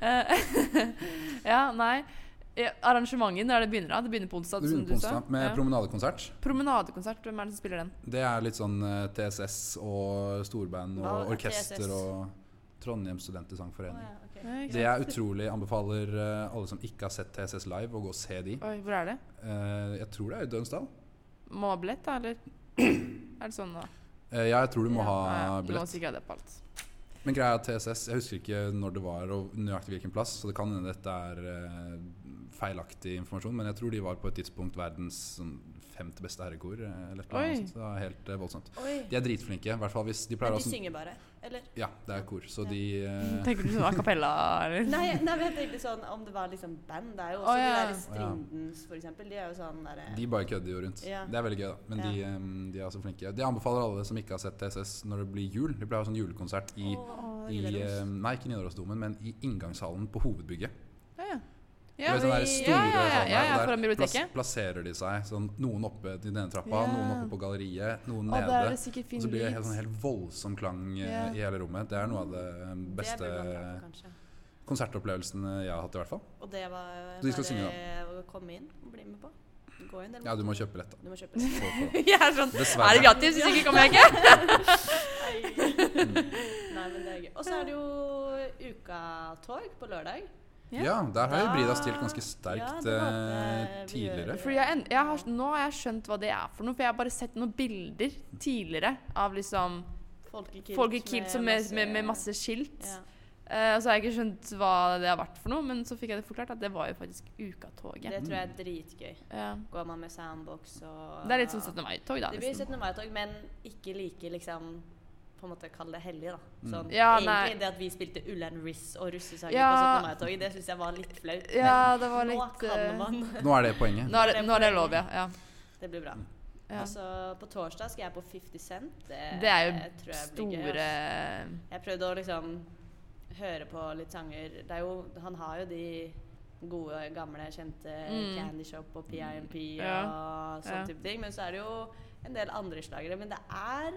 [SPEAKER 3] Eh, <laughs> ja, nei. Ja, Arrangementet når det begynner da? Det begynner på onsdag,
[SPEAKER 1] Det
[SPEAKER 3] som
[SPEAKER 1] begynner på
[SPEAKER 3] du sa?
[SPEAKER 1] onsdag med
[SPEAKER 3] Ja.
[SPEAKER 1] promenadekonsert.
[SPEAKER 3] Promenadekonsert, hvem er det som spiller den?
[SPEAKER 1] Det er litt sånn eh, TSS og storband
[SPEAKER 2] Hva
[SPEAKER 1] og
[SPEAKER 2] er
[SPEAKER 1] orkester
[SPEAKER 2] TSS?
[SPEAKER 1] og Trondheim Studentersangforening.
[SPEAKER 3] Oi,
[SPEAKER 1] Det jeg utrolig anbefaler eh, alle som ikke har sett TSS live, å gå og se de.
[SPEAKER 3] hvor er det?
[SPEAKER 1] Eh, Jeg tror det er i Dønsdal.
[SPEAKER 3] Måbillett, da, eller? Er det sånn, da?
[SPEAKER 1] Eh, Ja, jeg tror du <clears throat> må ha
[SPEAKER 3] Nei, Du må
[SPEAKER 1] billett.
[SPEAKER 3] sikkert ha det på alt.
[SPEAKER 1] Men greia er at TSS Jeg husker ikke når det var og nøyaktig hvilken plass, så det kan hende dette er eh, feilaktig informasjon, men jeg tror de var på et tidspunkt verdens sånn, femte beste herrekor. eh, Eller et eller
[SPEAKER 3] Oi.
[SPEAKER 1] annet, sånt. så det er helt eh, voldsomt.
[SPEAKER 2] Oi.
[SPEAKER 1] De er dritflinke, i hvert fall hvis de pleier
[SPEAKER 2] Men
[SPEAKER 1] å
[SPEAKER 2] de
[SPEAKER 1] ha sånn
[SPEAKER 2] synger bare, eller?
[SPEAKER 1] Ja, det er kor, så de eh,
[SPEAKER 3] Tenker du sånn a cappella, <laughs> eller?
[SPEAKER 2] Nei, nei, men jeg tenkte sånn om det var liksom band. Det er jo også
[SPEAKER 3] Å, ja.
[SPEAKER 2] de der Strindens, for eksempel. De er jo sånn derre
[SPEAKER 1] De bare kødder jo rundt.
[SPEAKER 2] Ja.
[SPEAKER 1] Det er veldig gøy, da. Men de, em, de er så flinke. Det anbefaler alle som ikke har sett TSS når det blir jul. De pleier å ha sånn julekonsert i, i eh, em, Nei, ikke Nidarosdomen, men i inngangshallen på hovedbygget.
[SPEAKER 3] Ja,
[SPEAKER 1] Du vet den der store
[SPEAKER 3] ja, ja, ja,
[SPEAKER 1] salen
[SPEAKER 3] ja,
[SPEAKER 1] der, og der
[SPEAKER 3] foran biblioteket.
[SPEAKER 1] Plass, plasserer de seg sånn noen oppe til denne trappa,
[SPEAKER 3] Ja.
[SPEAKER 1] noen oppe på galleriet, noen
[SPEAKER 3] Å, da er
[SPEAKER 1] nede.
[SPEAKER 3] det sikkert
[SPEAKER 1] Og
[SPEAKER 3] fin
[SPEAKER 1] så blir det helt,
[SPEAKER 3] lyd. <laughs>
[SPEAKER 1] sånn, helt voldsom klang eh,
[SPEAKER 3] Ja.
[SPEAKER 1] i hele rommet. Det er noe av det em,
[SPEAKER 2] Det
[SPEAKER 1] beste
[SPEAKER 2] burde man dra på, kanskje.
[SPEAKER 1] konsertopplevelsene jeg har hatt, i hvert fall.
[SPEAKER 2] Og det var
[SPEAKER 1] Så de skal synge,
[SPEAKER 2] å komme inn og bli med på. Gå inn, eller
[SPEAKER 1] Ja, du må kjøpe billett, da.
[SPEAKER 2] Du må kjøpe det.
[SPEAKER 3] <laughs>
[SPEAKER 1] Få- få-
[SPEAKER 3] Jeg er sånn Er det
[SPEAKER 1] Dessverre.
[SPEAKER 3] gratis? Hvis ikke kommer jeg <laughs> ikke.
[SPEAKER 1] Mm.
[SPEAKER 2] Nei, men det er gøy. Og så er det jo ukatog på lørdag.
[SPEAKER 1] Ja, der har jo
[SPEAKER 2] Da-
[SPEAKER 1] Brida stilt ganske
[SPEAKER 2] Ja,
[SPEAKER 1] sterkt
[SPEAKER 2] det var
[SPEAKER 1] eh,
[SPEAKER 2] det vi
[SPEAKER 1] tidligere.
[SPEAKER 2] gjør.
[SPEAKER 3] Fordi jeg, en- jeg har, nå har jeg skjønt hva det er for noe, for jeg har bare sett noen bilder tidligere av liksom
[SPEAKER 2] Folk i
[SPEAKER 3] folk i kilt som med, med, med masse skilt. Eh, og så har jeg ikke skjønt hva det har vært for noe, men så fikk jeg det forklart at det var jo faktisk
[SPEAKER 2] Ja,
[SPEAKER 3] Ukatoget.
[SPEAKER 2] det tror jeg er dritgøy.
[SPEAKER 3] Ja.
[SPEAKER 2] Går man med soundbox og
[SPEAKER 3] Det er litt sånn 17. mai-tog, da.
[SPEAKER 2] Det blir
[SPEAKER 3] nesten.
[SPEAKER 2] 17. mai-tog, men ikke like liksom på en måte kalle det hellig, da.
[SPEAKER 1] Mm.
[SPEAKER 2] Sånn,
[SPEAKER 3] Ja,
[SPEAKER 2] egentlig
[SPEAKER 3] nei.
[SPEAKER 2] det at vi spilte Ullern Riss og russesanger
[SPEAKER 3] Ja.
[SPEAKER 2] på 17. mai-toget, det syns jeg var litt flaut.
[SPEAKER 3] Ja, det var
[SPEAKER 2] Men nå
[SPEAKER 3] litt eh,
[SPEAKER 2] kan man.
[SPEAKER 1] Nå er det poenget.
[SPEAKER 3] Nå er det, nå er det lov, ja. ja.
[SPEAKER 2] Det blir bra.
[SPEAKER 3] Ja.
[SPEAKER 2] Og så på torsdag skal jeg på 50 Cent. Det, eh,
[SPEAKER 3] Det er jo
[SPEAKER 2] tror jeg blir gøy,
[SPEAKER 3] Store
[SPEAKER 2] ass. Jeg prøvde å liksom høre på litt sanger. Det er jo, han har jo de gode, gamle, kjente
[SPEAKER 3] Mm.
[SPEAKER 2] Candy Shop og PIMP
[SPEAKER 3] Ja.
[SPEAKER 2] og sånn
[SPEAKER 3] Ja.
[SPEAKER 2] type ting. Men så er det jo en del andre slagere. Men det er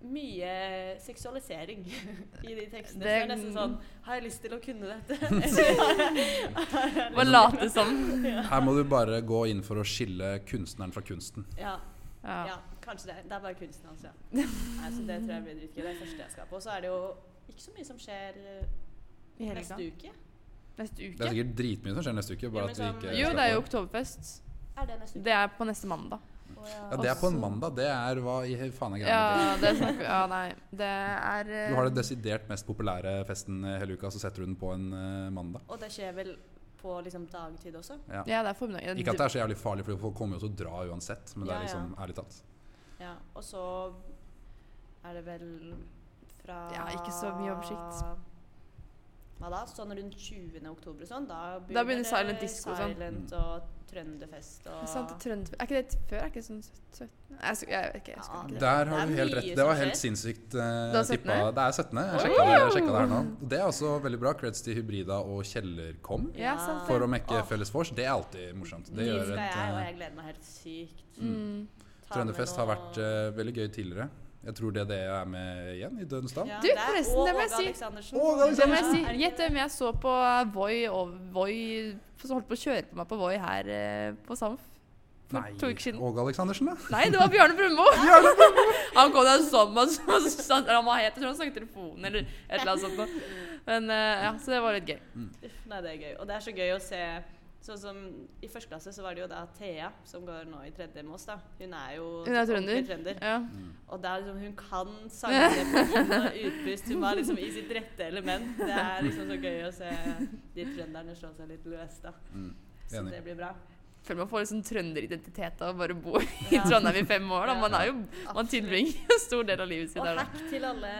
[SPEAKER 2] mye seksualisering <laughs> i de tekstene. Det, så det er
[SPEAKER 3] Det-
[SPEAKER 2] nesten sånn Har jeg lyst til å kunne dette? <laughs> Eller har
[SPEAKER 3] <laughs>
[SPEAKER 2] jeg- har jeg
[SPEAKER 3] Bare late som.
[SPEAKER 1] Her må du bare gå inn for å skille kunstneren fra kunsten.
[SPEAKER 2] Ja.
[SPEAKER 3] Ja.
[SPEAKER 2] Ja, kanskje det. Det er bare kunsten hans, ja. Nei, så det tror jeg blir dritgøy. Det er det første jeg skal på. Og så er det jo ikke så mye som skjer eh,
[SPEAKER 3] I helga.
[SPEAKER 2] neste uke.
[SPEAKER 3] Neste
[SPEAKER 1] Det er
[SPEAKER 3] uke.
[SPEAKER 1] sikkert dritmye som skjer neste uke.
[SPEAKER 2] Ja,
[SPEAKER 1] Bare
[SPEAKER 2] men
[SPEAKER 1] at vi
[SPEAKER 2] sånn-
[SPEAKER 1] ikke
[SPEAKER 3] Jo,
[SPEAKER 1] skal
[SPEAKER 3] det er jo
[SPEAKER 1] på.
[SPEAKER 3] Oktoberfest.
[SPEAKER 2] Er det neste uke?
[SPEAKER 3] Det er på neste mandag.
[SPEAKER 2] Å, ja.
[SPEAKER 1] Ja, det er på en mandag. Det er hva i faen er greia med det?
[SPEAKER 3] Ja, det snakker Ja, nei. Det er eh,
[SPEAKER 1] Du har den desidert mest populære festen hele uka, så setter du den på en eh, mandag.
[SPEAKER 2] Og det skjer vel på liksom dagtid også?
[SPEAKER 3] Ja, det er formiddag.
[SPEAKER 1] Ikke at det er så jævlig farlig, for folk kommer jo til å dra uansett, men det
[SPEAKER 2] Ja,
[SPEAKER 1] er
[SPEAKER 2] ja.
[SPEAKER 1] liksom ærlig talt.
[SPEAKER 2] Ja. Og så er det vel fra
[SPEAKER 3] Ja, ikke så mye oversikt.
[SPEAKER 2] Hva da? Sånn rundt 20. oktober og sånn? Da begynner,
[SPEAKER 3] Da begynner silent
[SPEAKER 2] det
[SPEAKER 3] disco og sånn.
[SPEAKER 2] Silent og trønderfest og
[SPEAKER 3] Sant, Trøndelag Er ikke det før? Er ikke det sånn 17? Jeg, husker- jeg, vet ikke, jeg husker
[SPEAKER 2] Ja,
[SPEAKER 3] ikke.
[SPEAKER 2] det-
[SPEAKER 1] Der
[SPEAKER 2] det
[SPEAKER 1] har
[SPEAKER 2] er
[SPEAKER 1] du helt
[SPEAKER 2] mye
[SPEAKER 1] rett. Det
[SPEAKER 2] som
[SPEAKER 1] var
[SPEAKER 2] skjer.
[SPEAKER 1] helt sinnssykt eh,
[SPEAKER 3] Det var
[SPEAKER 1] tippa.
[SPEAKER 3] 17.?
[SPEAKER 1] Det er 17. Jeg sjekka det, jeg sjekka det her nå. Det er også veldig bra. Creds til Hybrida og Kjellerkom
[SPEAKER 3] Ja, sant det.
[SPEAKER 1] for å mekke
[SPEAKER 2] Åh.
[SPEAKER 1] felles vors. Det er alltid morsomt. Det
[SPEAKER 2] Dit
[SPEAKER 1] gjør et
[SPEAKER 2] skal jeg, og
[SPEAKER 1] eh,
[SPEAKER 2] jeg gleder meg helt sykt.
[SPEAKER 3] Mm.
[SPEAKER 2] Ta med
[SPEAKER 1] Trønderfest har
[SPEAKER 2] noe-
[SPEAKER 1] vært eh, veldig gøy tidligere. Jeg tror det er det jeg er med igjen i Dødens Dal.
[SPEAKER 2] Ja,
[SPEAKER 3] Du,
[SPEAKER 2] det er-
[SPEAKER 3] forresten,
[SPEAKER 2] og
[SPEAKER 3] det må jeg
[SPEAKER 2] Åge
[SPEAKER 3] si.
[SPEAKER 2] Aleksandersen.
[SPEAKER 3] Det må jeg si. Gjett hvem jeg så på Voi og Voi Som holdt på å kjøre på meg på Voi her eh, på Samf. For
[SPEAKER 1] Nei,
[SPEAKER 3] to uker siden.
[SPEAKER 1] Åge Aleksandersen, da?
[SPEAKER 3] Nei, det var Bjarne Brummo! <laughs> han kom der som og så satt han var helt Jeg tror han snakket i telefonen eller et eller annet sånt noe. Men eh, ja, så det var litt gøy.
[SPEAKER 2] Uff, nei, det er gøy. Og det er så gøy å se Sånn som I første klasse så var det jo da Thea, som går nå i tredje med oss, da. Hun er jo
[SPEAKER 3] Hun er
[SPEAKER 2] ordentlig
[SPEAKER 3] trønder. Ja.
[SPEAKER 2] Og det er liksom, hun kan sangene
[SPEAKER 3] <laughs>
[SPEAKER 2] på inn- og utpust. Hun var liksom i sitt rette element. Det er liksom så gøy å se de trønderne slå seg litt løs, da. Så
[SPEAKER 1] Enig.
[SPEAKER 2] det blir bra.
[SPEAKER 3] Føler man får liksom trønderidentitet av å bare bo i
[SPEAKER 2] Ja.
[SPEAKER 3] Trondheim i fem år. Da. Man, er jo, man
[SPEAKER 2] Absolutt.
[SPEAKER 3] tilbringer <laughs> en stor del av livet sitt
[SPEAKER 2] Og
[SPEAKER 3] der.
[SPEAKER 2] hack
[SPEAKER 3] Da.
[SPEAKER 2] til alle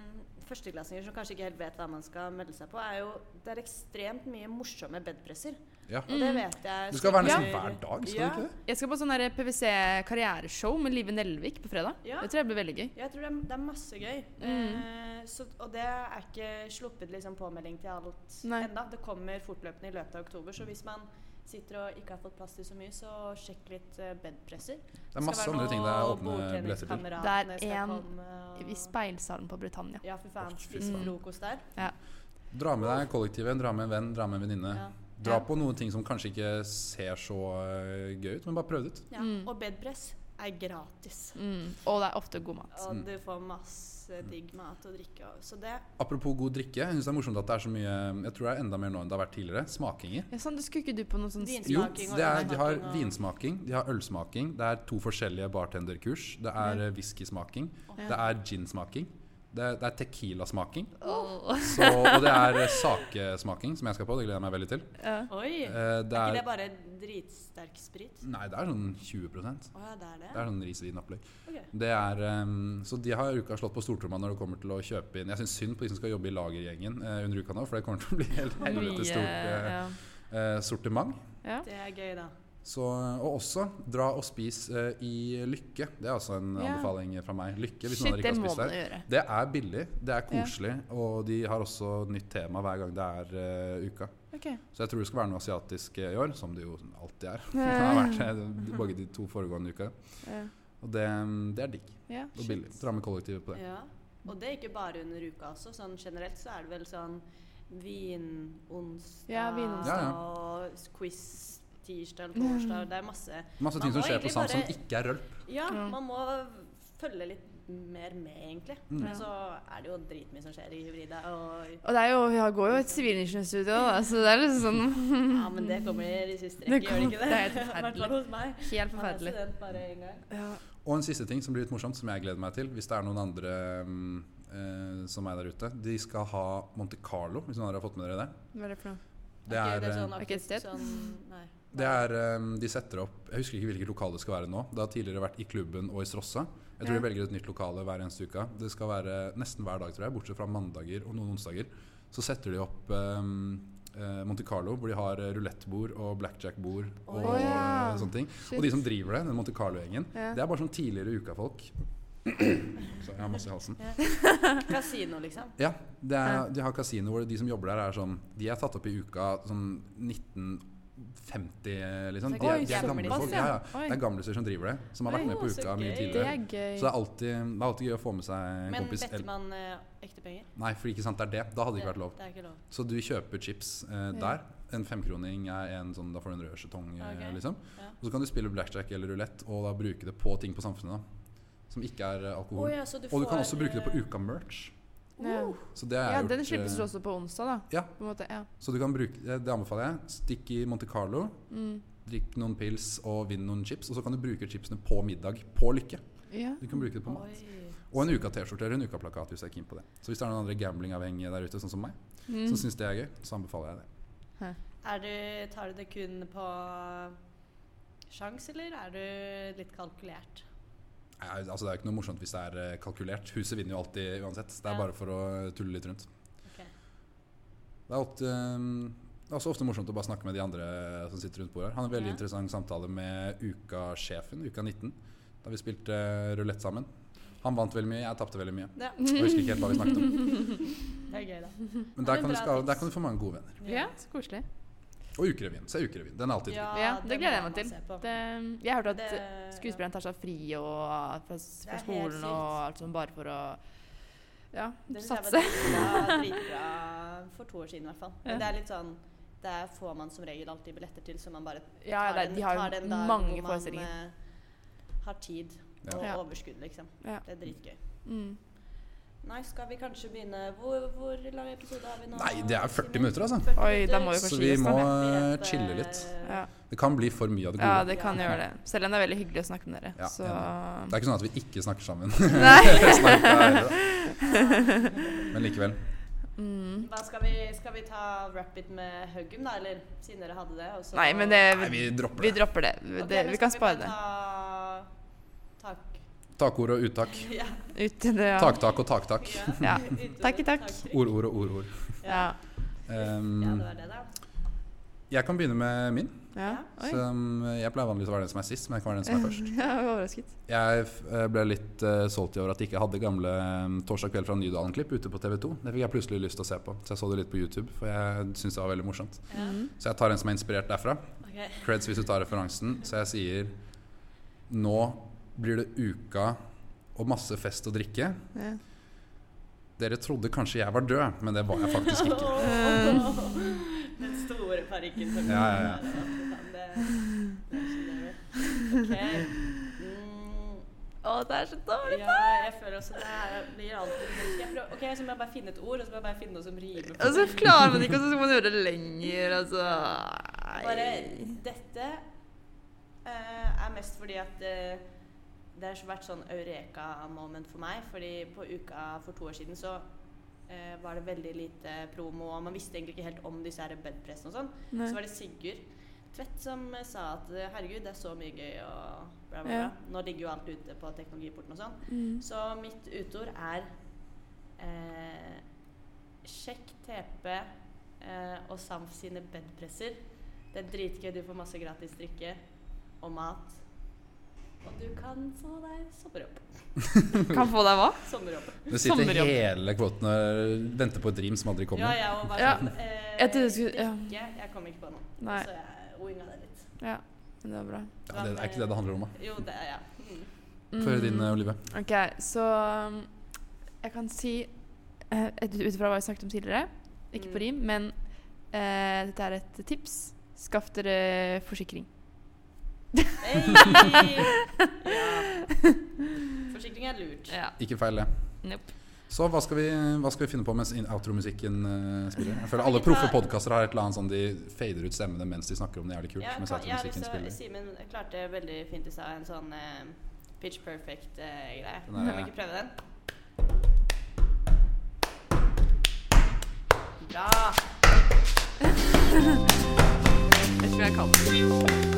[SPEAKER 2] mm, førsteklassinger som kanskje ikke helt vet hva man skal melde seg på, er jo Det er ekstremt mye morsomme bedpresser.
[SPEAKER 1] Ja.
[SPEAKER 2] Og
[SPEAKER 3] Mm.
[SPEAKER 2] det vet jeg
[SPEAKER 1] Du skal være nesten
[SPEAKER 2] Mm. Ja.
[SPEAKER 1] hver dag, skal
[SPEAKER 2] Ja.
[SPEAKER 1] du ikke det?
[SPEAKER 3] Jeg skal på sånn der PwC-karriereshow med Live Nelvik på fredag.
[SPEAKER 2] Ja.
[SPEAKER 3] Det tror jeg blir veldig gøy.
[SPEAKER 2] Jeg tror det er, det er masse gøy.
[SPEAKER 3] Mm.
[SPEAKER 2] Eh, så, og det er ikke sluppet liksom påmelding til alt
[SPEAKER 3] Nei.
[SPEAKER 2] ennå. Det kommer fortløpende i løpet av oktober. Så hvis man sitter og ikke har fått plass til så mye, så sjekk litt eh, bedpresser.
[SPEAKER 1] Det er masse andre ting det er åpne billetter til.
[SPEAKER 3] Det er
[SPEAKER 2] Det er
[SPEAKER 3] en I
[SPEAKER 2] én
[SPEAKER 3] speilsalen på Britannia.
[SPEAKER 2] Ja, fy faen.
[SPEAKER 1] Å, fy
[SPEAKER 2] Spise
[SPEAKER 1] faen.
[SPEAKER 2] frokost der.
[SPEAKER 1] Dra med deg kollektivet, dra med en venn, dra med en venninne.
[SPEAKER 2] Ja.
[SPEAKER 1] Dra
[SPEAKER 3] Ja.
[SPEAKER 1] på noen ting som kanskje ikke ser så eh, gøy ut, men bare prøv det ut.
[SPEAKER 2] Ja. Og bedpress er gratis.
[SPEAKER 3] Mm. Og det er ofte god mat.
[SPEAKER 2] Og
[SPEAKER 1] Mm.
[SPEAKER 2] du får masse digg mat og drikke. og- Så det
[SPEAKER 1] Apropos god drikke, jeg synes det er morsomt at det er så mye Jeg tror det er enda mer nå enn det har vært tidligere. Smakinger.
[SPEAKER 3] Ja, sant, du skulle ikke du på noe sånn
[SPEAKER 2] Vinsmaking
[SPEAKER 1] Jo,
[SPEAKER 2] og
[SPEAKER 1] det er, de har
[SPEAKER 2] ølsmaking og-
[SPEAKER 1] vinsmaking, de har ølsmaking, det er to forskjellige bartenderkurs. Det er eh, whiskysmaking, det er ginsmaking, det, det er tequilasmaking. Så, og det er eh, sakesmaking, som jeg skal på. Det gleder jeg meg veldig til. <laughs>
[SPEAKER 2] Oi! Er
[SPEAKER 1] Eh, Det
[SPEAKER 2] ikke det
[SPEAKER 1] er
[SPEAKER 2] bare dritsterk sprit?
[SPEAKER 1] Nei, det er sånn 20
[SPEAKER 2] Å ja, det er det?
[SPEAKER 1] Det er sånn risvinopplegg.
[SPEAKER 2] Ok.
[SPEAKER 1] Det er, ehm, så de har uka slått på stortromma når det kommer til å kjøpe inn Jeg syns synd på de som skal jobbe i lagergjengen eh, under uka nå, for det kommer til å bli helt helvetes stort eh, eh, sortiment.
[SPEAKER 2] Det er gøy, da.
[SPEAKER 1] Så, eh, og også dra og spis eh, i Lykke. Det er også en
[SPEAKER 3] Ja.
[SPEAKER 1] anbefaling fra meg. Lykke, hvis noen
[SPEAKER 3] Shit,
[SPEAKER 1] av dere
[SPEAKER 3] det
[SPEAKER 1] ikke har
[SPEAKER 3] må
[SPEAKER 1] spist
[SPEAKER 3] man
[SPEAKER 1] der.
[SPEAKER 3] jo gjøre.
[SPEAKER 1] Det er billig, det er koselig, og de har også nytt tema hver gang det er eh, uka.
[SPEAKER 3] Ok.
[SPEAKER 1] Så jeg tror det skal være noe asiatisk eh, i år, som det jo alltid er. <laughs> Det har vært eh, det begge de to foregående ukene.
[SPEAKER 3] Ja.
[SPEAKER 1] Og det, mm, det er digg.
[SPEAKER 3] Ja,
[SPEAKER 1] Og billig. Dra med kollektivet på det.
[SPEAKER 2] Ja. Og det er ikke bare under uka også. Sånn generelt så er det vel sånn vinonsdag
[SPEAKER 3] Ja, vinonsdag.
[SPEAKER 1] Ja,
[SPEAKER 3] Mm.
[SPEAKER 1] ja.
[SPEAKER 2] og quiz tirsdag eller torsdag. Det er masse
[SPEAKER 1] Masse ting
[SPEAKER 2] Man må
[SPEAKER 1] som skjer på
[SPEAKER 2] egentlig
[SPEAKER 1] SAM som
[SPEAKER 2] bare-
[SPEAKER 1] ikke er rølp.
[SPEAKER 2] Ja, man må følge litt mer med, egentlig. Men så er det jo dritmye som skjer i hybrida. Og
[SPEAKER 3] Og det er jo, jeg går jo et sivilingeniørstudie òg, da, så det er liksom sånn
[SPEAKER 2] ja, men det kommer i siste rekke,
[SPEAKER 3] Det
[SPEAKER 2] gjør det ikke det?
[SPEAKER 3] kommer- det er
[SPEAKER 2] <laughs> I hvert
[SPEAKER 3] helt forferdelig.
[SPEAKER 2] fall hos meg.
[SPEAKER 3] Helt
[SPEAKER 2] Man er
[SPEAKER 3] forferdelig.
[SPEAKER 2] student bare én gang.
[SPEAKER 1] Og en siste ting som blir litt morsomt, som jeg gleder meg til, hvis det er noen andre mm, eh, som er der ute. De skal ha Monte Carlo, hvis noen andre har fått med dere det.
[SPEAKER 3] Hva er det for noe?
[SPEAKER 1] Det
[SPEAKER 2] Ikke
[SPEAKER 1] er, eh,
[SPEAKER 2] sånn
[SPEAKER 3] ikke et sted?
[SPEAKER 2] aktivt sånn- nei.
[SPEAKER 1] det er eh, De setter opp Jeg husker ikke hvilket lokale det skal være nå. Det har tidligere vært i klubben og i Strossa. Jeg tror de velger et nytt lokale hver eneste uke. Det skal være nesten hver dag, tror jeg, bortsett fra mandager og noen onsdager. Så setter de opp eh, eh, Monte Carlo, hvor de har eh, rulettbord og blackjack-bord og
[SPEAKER 3] Å, ja.
[SPEAKER 1] eh, sånne ting. Og de som driver det, den Monte Carlo-gjengen,
[SPEAKER 3] Ja.
[SPEAKER 1] det er bare sånn tidligere
[SPEAKER 3] <clears throat>
[SPEAKER 1] uka-folk. Så jeg har masse i halsen.
[SPEAKER 2] Kasino, liksom.
[SPEAKER 1] Ja, det er, de har kasino hvor de som jobber der, er sånn De er tatt opp i uka sånn 1950, liksom. De er,
[SPEAKER 3] Oi,
[SPEAKER 1] de er gamle
[SPEAKER 3] såpass,
[SPEAKER 1] folk. Ja,
[SPEAKER 3] ja.
[SPEAKER 1] ja.
[SPEAKER 3] Oi.
[SPEAKER 1] Det er gamliser som driver det. Som har vært med på uka mye
[SPEAKER 3] Det
[SPEAKER 1] tidligere.
[SPEAKER 3] er gøy.
[SPEAKER 1] Så det er, alltid, det er alltid gøy å få med seg en
[SPEAKER 2] Men
[SPEAKER 1] kompis.
[SPEAKER 2] vetter man eh, ekte penger?
[SPEAKER 1] Nei, for ikke sant, det er det. Da hadde det ikke vært lov.
[SPEAKER 2] Det er ikke lov.
[SPEAKER 1] Så du kjøper chips eh, der. En femkroning er en sånn Da får du en rød skjetong, eh,
[SPEAKER 2] Ok.
[SPEAKER 1] liksom.
[SPEAKER 2] Ja.
[SPEAKER 1] Og så kan du spille blackjack eller rulett og da bruke det på ting på samfunnet. da Som ikke er eh, alkohol.
[SPEAKER 2] Å ja, så du
[SPEAKER 1] og du kan
[SPEAKER 2] får,
[SPEAKER 1] også bruke det på
[SPEAKER 2] eh,
[SPEAKER 1] uka-merch.
[SPEAKER 3] Ja,
[SPEAKER 1] Så det er
[SPEAKER 3] ja
[SPEAKER 1] gjort,
[SPEAKER 3] den
[SPEAKER 1] eh,
[SPEAKER 3] slippes også på onsdag, da.
[SPEAKER 1] Ja,
[SPEAKER 3] På en måte, ja.
[SPEAKER 1] Så du kan bruke, eh, det det anbefaler jeg. Stikk i Monte Carlo,
[SPEAKER 3] Mm.
[SPEAKER 1] drikk noen pils og vinn noen chips. Og så kan du bruke chipsene på middag på lykke.
[SPEAKER 3] ja.
[SPEAKER 1] Du kan bruke det
[SPEAKER 2] eh,
[SPEAKER 1] på mat. Og en uka T-skjorte eller en uka plakat hvis jeg er keen på det. Så hvis det er noen andre gamblingavhengige der ute, sånn som meg, som
[SPEAKER 3] Mm.
[SPEAKER 1] syns det er gøy, så anbefaler jeg det.
[SPEAKER 2] Er du, tar du det kun på sjans, eller er du litt kalkulert?
[SPEAKER 1] Nei, Altså, det er jo ikke noe morsomt hvis det er eh, kalkulert. Huset vinner jo alltid uansett. Det er
[SPEAKER 2] Ja.
[SPEAKER 1] bare for å tulle litt rundt.
[SPEAKER 2] Ok.
[SPEAKER 1] Det er ofte, um, det er også ofte morsomt å bare snakke med de andre eh, som sitter rundt bordet. her. Han hadde en veldig
[SPEAKER 2] Ja.
[SPEAKER 1] interessant samtale med Uka-sjefen, Uka 19, da vi spilte uh, rulett sammen. Han vant veldig mye, jeg tapte veldig mye.
[SPEAKER 2] Ja.
[SPEAKER 1] Og jeg husker ikke helt hva vi snakket
[SPEAKER 2] <laughs>
[SPEAKER 1] om.
[SPEAKER 2] Det er gøy, da.
[SPEAKER 1] Men der
[SPEAKER 2] men
[SPEAKER 1] kan, du,
[SPEAKER 2] bra
[SPEAKER 1] skal,
[SPEAKER 2] tips.
[SPEAKER 1] der kan du få mange gode venner.
[SPEAKER 3] ja, så koselig.
[SPEAKER 1] Og Ukerevyen. Se Ukerevyen. Den er alltid fin.
[SPEAKER 3] Ja, det
[SPEAKER 2] må
[SPEAKER 3] gleder jeg
[SPEAKER 2] man
[SPEAKER 3] meg til.
[SPEAKER 2] se på.
[SPEAKER 3] Det, jeg hørte at
[SPEAKER 2] Det-
[SPEAKER 3] skuespilleren tar seg fri og eh, fra,
[SPEAKER 2] Det
[SPEAKER 3] fra
[SPEAKER 2] er helt
[SPEAKER 3] skolen
[SPEAKER 2] sykt.
[SPEAKER 3] og alt sånn bare for å ja,
[SPEAKER 2] Det synes jeg
[SPEAKER 3] satse.
[SPEAKER 2] var dritbra,
[SPEAKER 3] <laughs>
[SPEAKER 2] dritbra for to år siden, i hvert fall. Men det er litt sånn Der får man som regel alltid billetter til, så man bare tar,
[SPEAKER 3] Ja, det-
[SPEAKER 2] den,
[SPEAKER 3] de har jo
[SPEAKER 2] tar den dagen
[SPEAKER 3] mange
[SPEAKER 2] hvor man
[SPEAKER 3] forestillinger.
[SPEAKER 2] eh, har tid
[SPEAKER 1] Ja.
[SPEAKER 2] og
[SPEAKER 3] Ja.
[SPEAKER 2] overskudd, liksom.
[SPEAKER 3] Ja.
[SPEAKER 2] Det er dritgøy.
[SPEAKER 3] Mm.
[SPEAKER 2] Nei, skal vi kanskje begynne Hvor, hvor lang episode har vi nå?
[SPEAKER 1] Nei, det er 40
[SPEAKER 2] Simen?
[SPEAKER 1] minutter, altså.
[SPEAKER 2] 40
[SPEAKER 3] Oi, da må
[SPEAKER 2] minutter.
[SPEAKER 3] vi
[SPEAKER 1] Så
[SPEAKER 3] kanskje
[SPEAKER 1] vi
[SPEAKER 3] gi oss
[SPEAKER 1] må
[SPEAKER 3] snart.
[SPEAKER 1] eh,
[SPEAKER 2] Rett, eh,
[SPEAKER 1] chille litt.
[SPEAKER 3] Ja.
[SPEAKER 1] Det kan bli for mye av det
[SPEAKER 3] ja,
[SPEAKER 1] gode.
[SPEAKER 3] det kan gjøre det. Selv om det er veldig hyggelig å snakke med dere.
[SPEAKER 1] Ja,
[SPEAKER 3] så
[SPEAKER 1] Det er ikke sånn at vi ikke snakker sammen.
[SPEAKER 3] Nei.
[SPEAKER 1] <laughs> Snakk er det,
[SPEAKER 3] <laughs>
[SPEAKER 1] da. Men likevel.
[SPEAKER 3] Mm.
[SPEAKER 2] Hva skal, vi, skal vi ta wrap it med Huggum, da? Eller siden dere hadde det? og så-
[SPEAKER 3] eh, Nei, men det,
[SPEAKER 1] Nei,
[SPEAKER 3] vi,
[SPEAKER 1] vi dropper
[SPEAKER 3] vi
[SPEAKER 1] det.
[SPEAKER 3] dropper det.
[SPEAKER 2] Ok,
[SPEAKER 3] det
[SPEAKER 2] men
[SPEAKER 3] vi
[SPEAKER 2] skal
[SPEAKER 3] kan
[SPEAKER 2] bare
[SPEAKER 3] spare det.
[SPEAKER 2] Ta... Takk.
[SPEAKER 1] Takord og
[SPEAKER 2] <laughs>
[SPEAKER 1] uttak.
[SPEAKER 3] <laughs> Ut til det, ja.
[SPEAKER 1] Taktak og taktak.
[SPEAKER 3] ja.
[SPEAKER 2] Utover
[SPEAKER 3] Takk i takk.
[SPEAKER 2] taktrykk.
[SPEAKER 1] Ord, ord og ord, ord.
[SPEAKER 3] Ja.
[SPEAKER 2] Ja,
[SPEAKER 1] Um,
[SPEAKER 2] det var det, da.
[SPEAKER 1] jeg kan begynne med min.
[SPEAKER 3] ja. Oi. Eh.
[SPEAKER 1] Som jeg pleier vanligvis å være den som er sist, men jeg kan være den som er først.
[SPEAKER 3] <laughs> Jeg var overrasket.
[SPEAKER 1] Jeg f- eh, ble litt eh, solgt i over at de ikke hadde gamle eh, Torsdag kveld fra Nydalen-klipp ute på TV2. Det fikk jeg plutselig lyst til å se på, så jeg så det litt på YouTube. For jeg syntes det var veldig morsomt.
[SPEAKER 3] Mhm.
[SPEAKER 1] Så jeg tar en som er inspirert derfra.
[SPEAKER 2] Ok.
[SPEAKER 1] Creds hvis du tar referansen. Så jeg sier nå blir det uka og masse fest og drikke.
[SPEAKER 3] Ja.
[SPEAKER 1] Dere trodde kanskje jeg var død, men det var jeg faktisk
[SPEAKER 2] <laughs>
[SPEAKER 1] ikke.
[SPEAKER 3] Eh.
[SPEAKER 2] Den store parykken som
[SPEAKER 1] Ja, ja,
[SPEAKER 2] <laughs>
[SPEAKER 1] ja.
[SPEAKER 2] Ok. Mm.
[SPEAKER 3] Å, det er så dårlig!
[SPEAKER 2] Ja, jeg føler også det her blir alltid jeg prøver, Ok, så må jeg bare finne et ord, og så må jeg bare finne noe som rimer. på
[SPEAKER 3] Og så klarer man ikke, og så skal man gjøre det lenger, altså.
[SPEAKER 2] det.
[SPEAKER 3] Nei.
[SPEAKER 2] Bare dette eh, er mest fordi at eh, det har vært sånn eureka-moment for meg. Fordi på uka for to år siden så eh, var det veldig lite promo, og man visste egentlig ikke helt om disse her bedpressene og sånn.
[SPEAKER 3] Nei.
[SPEAKER 2] Så var det Sigurd Tvedt som eh, sa at eh, herregud, det er så mye gøy og bla, bla, bla.
[SPEAKER 3] Ja.
[SPEAKER 2] Nå ligger jo alt ute på teknologiporten og sånn.
[SPEAKER 3] Mm.
[SPEAKER 2] Så mitt utord er eh, Sjekk TP eh, og Samf sine bedpresser. Det er dritgøy, du får masse gratis drikke og mat. Og du kan få deg sommerjobb.
[SPEAKER 3] Kan få deg hva?
[SPEAKER 2] Sommerjobb.
[SPEAKER 1] Det sitter
[SPEAKER 3] Sommerjobb.
[SPEAKER 1] hele kvoten og venter på et rim som aldri
[SPEAKER 2] Ja,
[SPEAKER 1] kommer.
[SPEAKER 2] jeg òg var
[SPEAKER 3] Ja.
[SPEAKER 2] sånn eh,
[SPEAKER 3] Jeg trodde du skulle- ja.
[SPEAKER 2] Drikke. Jeg kom ikke på noe.
[SPEAKER 3] Nei.
[SPEAKER 2] Så jeg winga det litt.
[SPEAKER 3] Ja, men det var bra.
[SPEAKER 1] Ja, det er ikke det det handler om, da.
[SPEAKER 2] Jo, det er ja. Mm.
[SPEAKER 1] Få
[SPEAKER 3] <laughs>
[SPEAKER 1] høre din,
[SPEAKER 3] Mm.
[SPEAKER 1] eh, Olive.
[SPEAKER 3] Ok, så um, jeg kan si eh, et- ut fra hva vi snakket om tidligere, ikke på
[SPEAKER 2] Mm.
[SPEAKER 3] rim, men eh, dette er et tips. Skaff dere forsikring.
[SPEAKER 2] Hey! ja. Forsikring er lurt.
[SPEAKER 3] Ja.
[SPEAKER 1] Ikke feil, det.
[SPEAKER 3] Nope.
[SPEAKER 1] Så hva skal, vi, hva skal vi finne på mens in- outro-musikken eh, spiller? Jeg føler alle
[SPEAKER 2] vi ta-
[SPEAKER 1] proffe podkaster har et eller annet sånn de fader ut stemmene mens de snakker om det jævlig kult.
[SPEAKER 2] Ja,
[SPEAKER 1] mens
[SPEAKER 2] kan, jeg har lyst
[SPEAKER 1] outro-musikken
[SPEAKER 2] til å
[SPEAKER 1] spiller.
[SPEAKER 2] Simen klarte veldig fint i stad en sånn eh, pitch perfect-greie.
[SPEAKER 1] Den er-
[SPEAKER 2] kan vi ikke prøve den? Bra!
[SPEAKER 3] Jeg tror jeg kan det.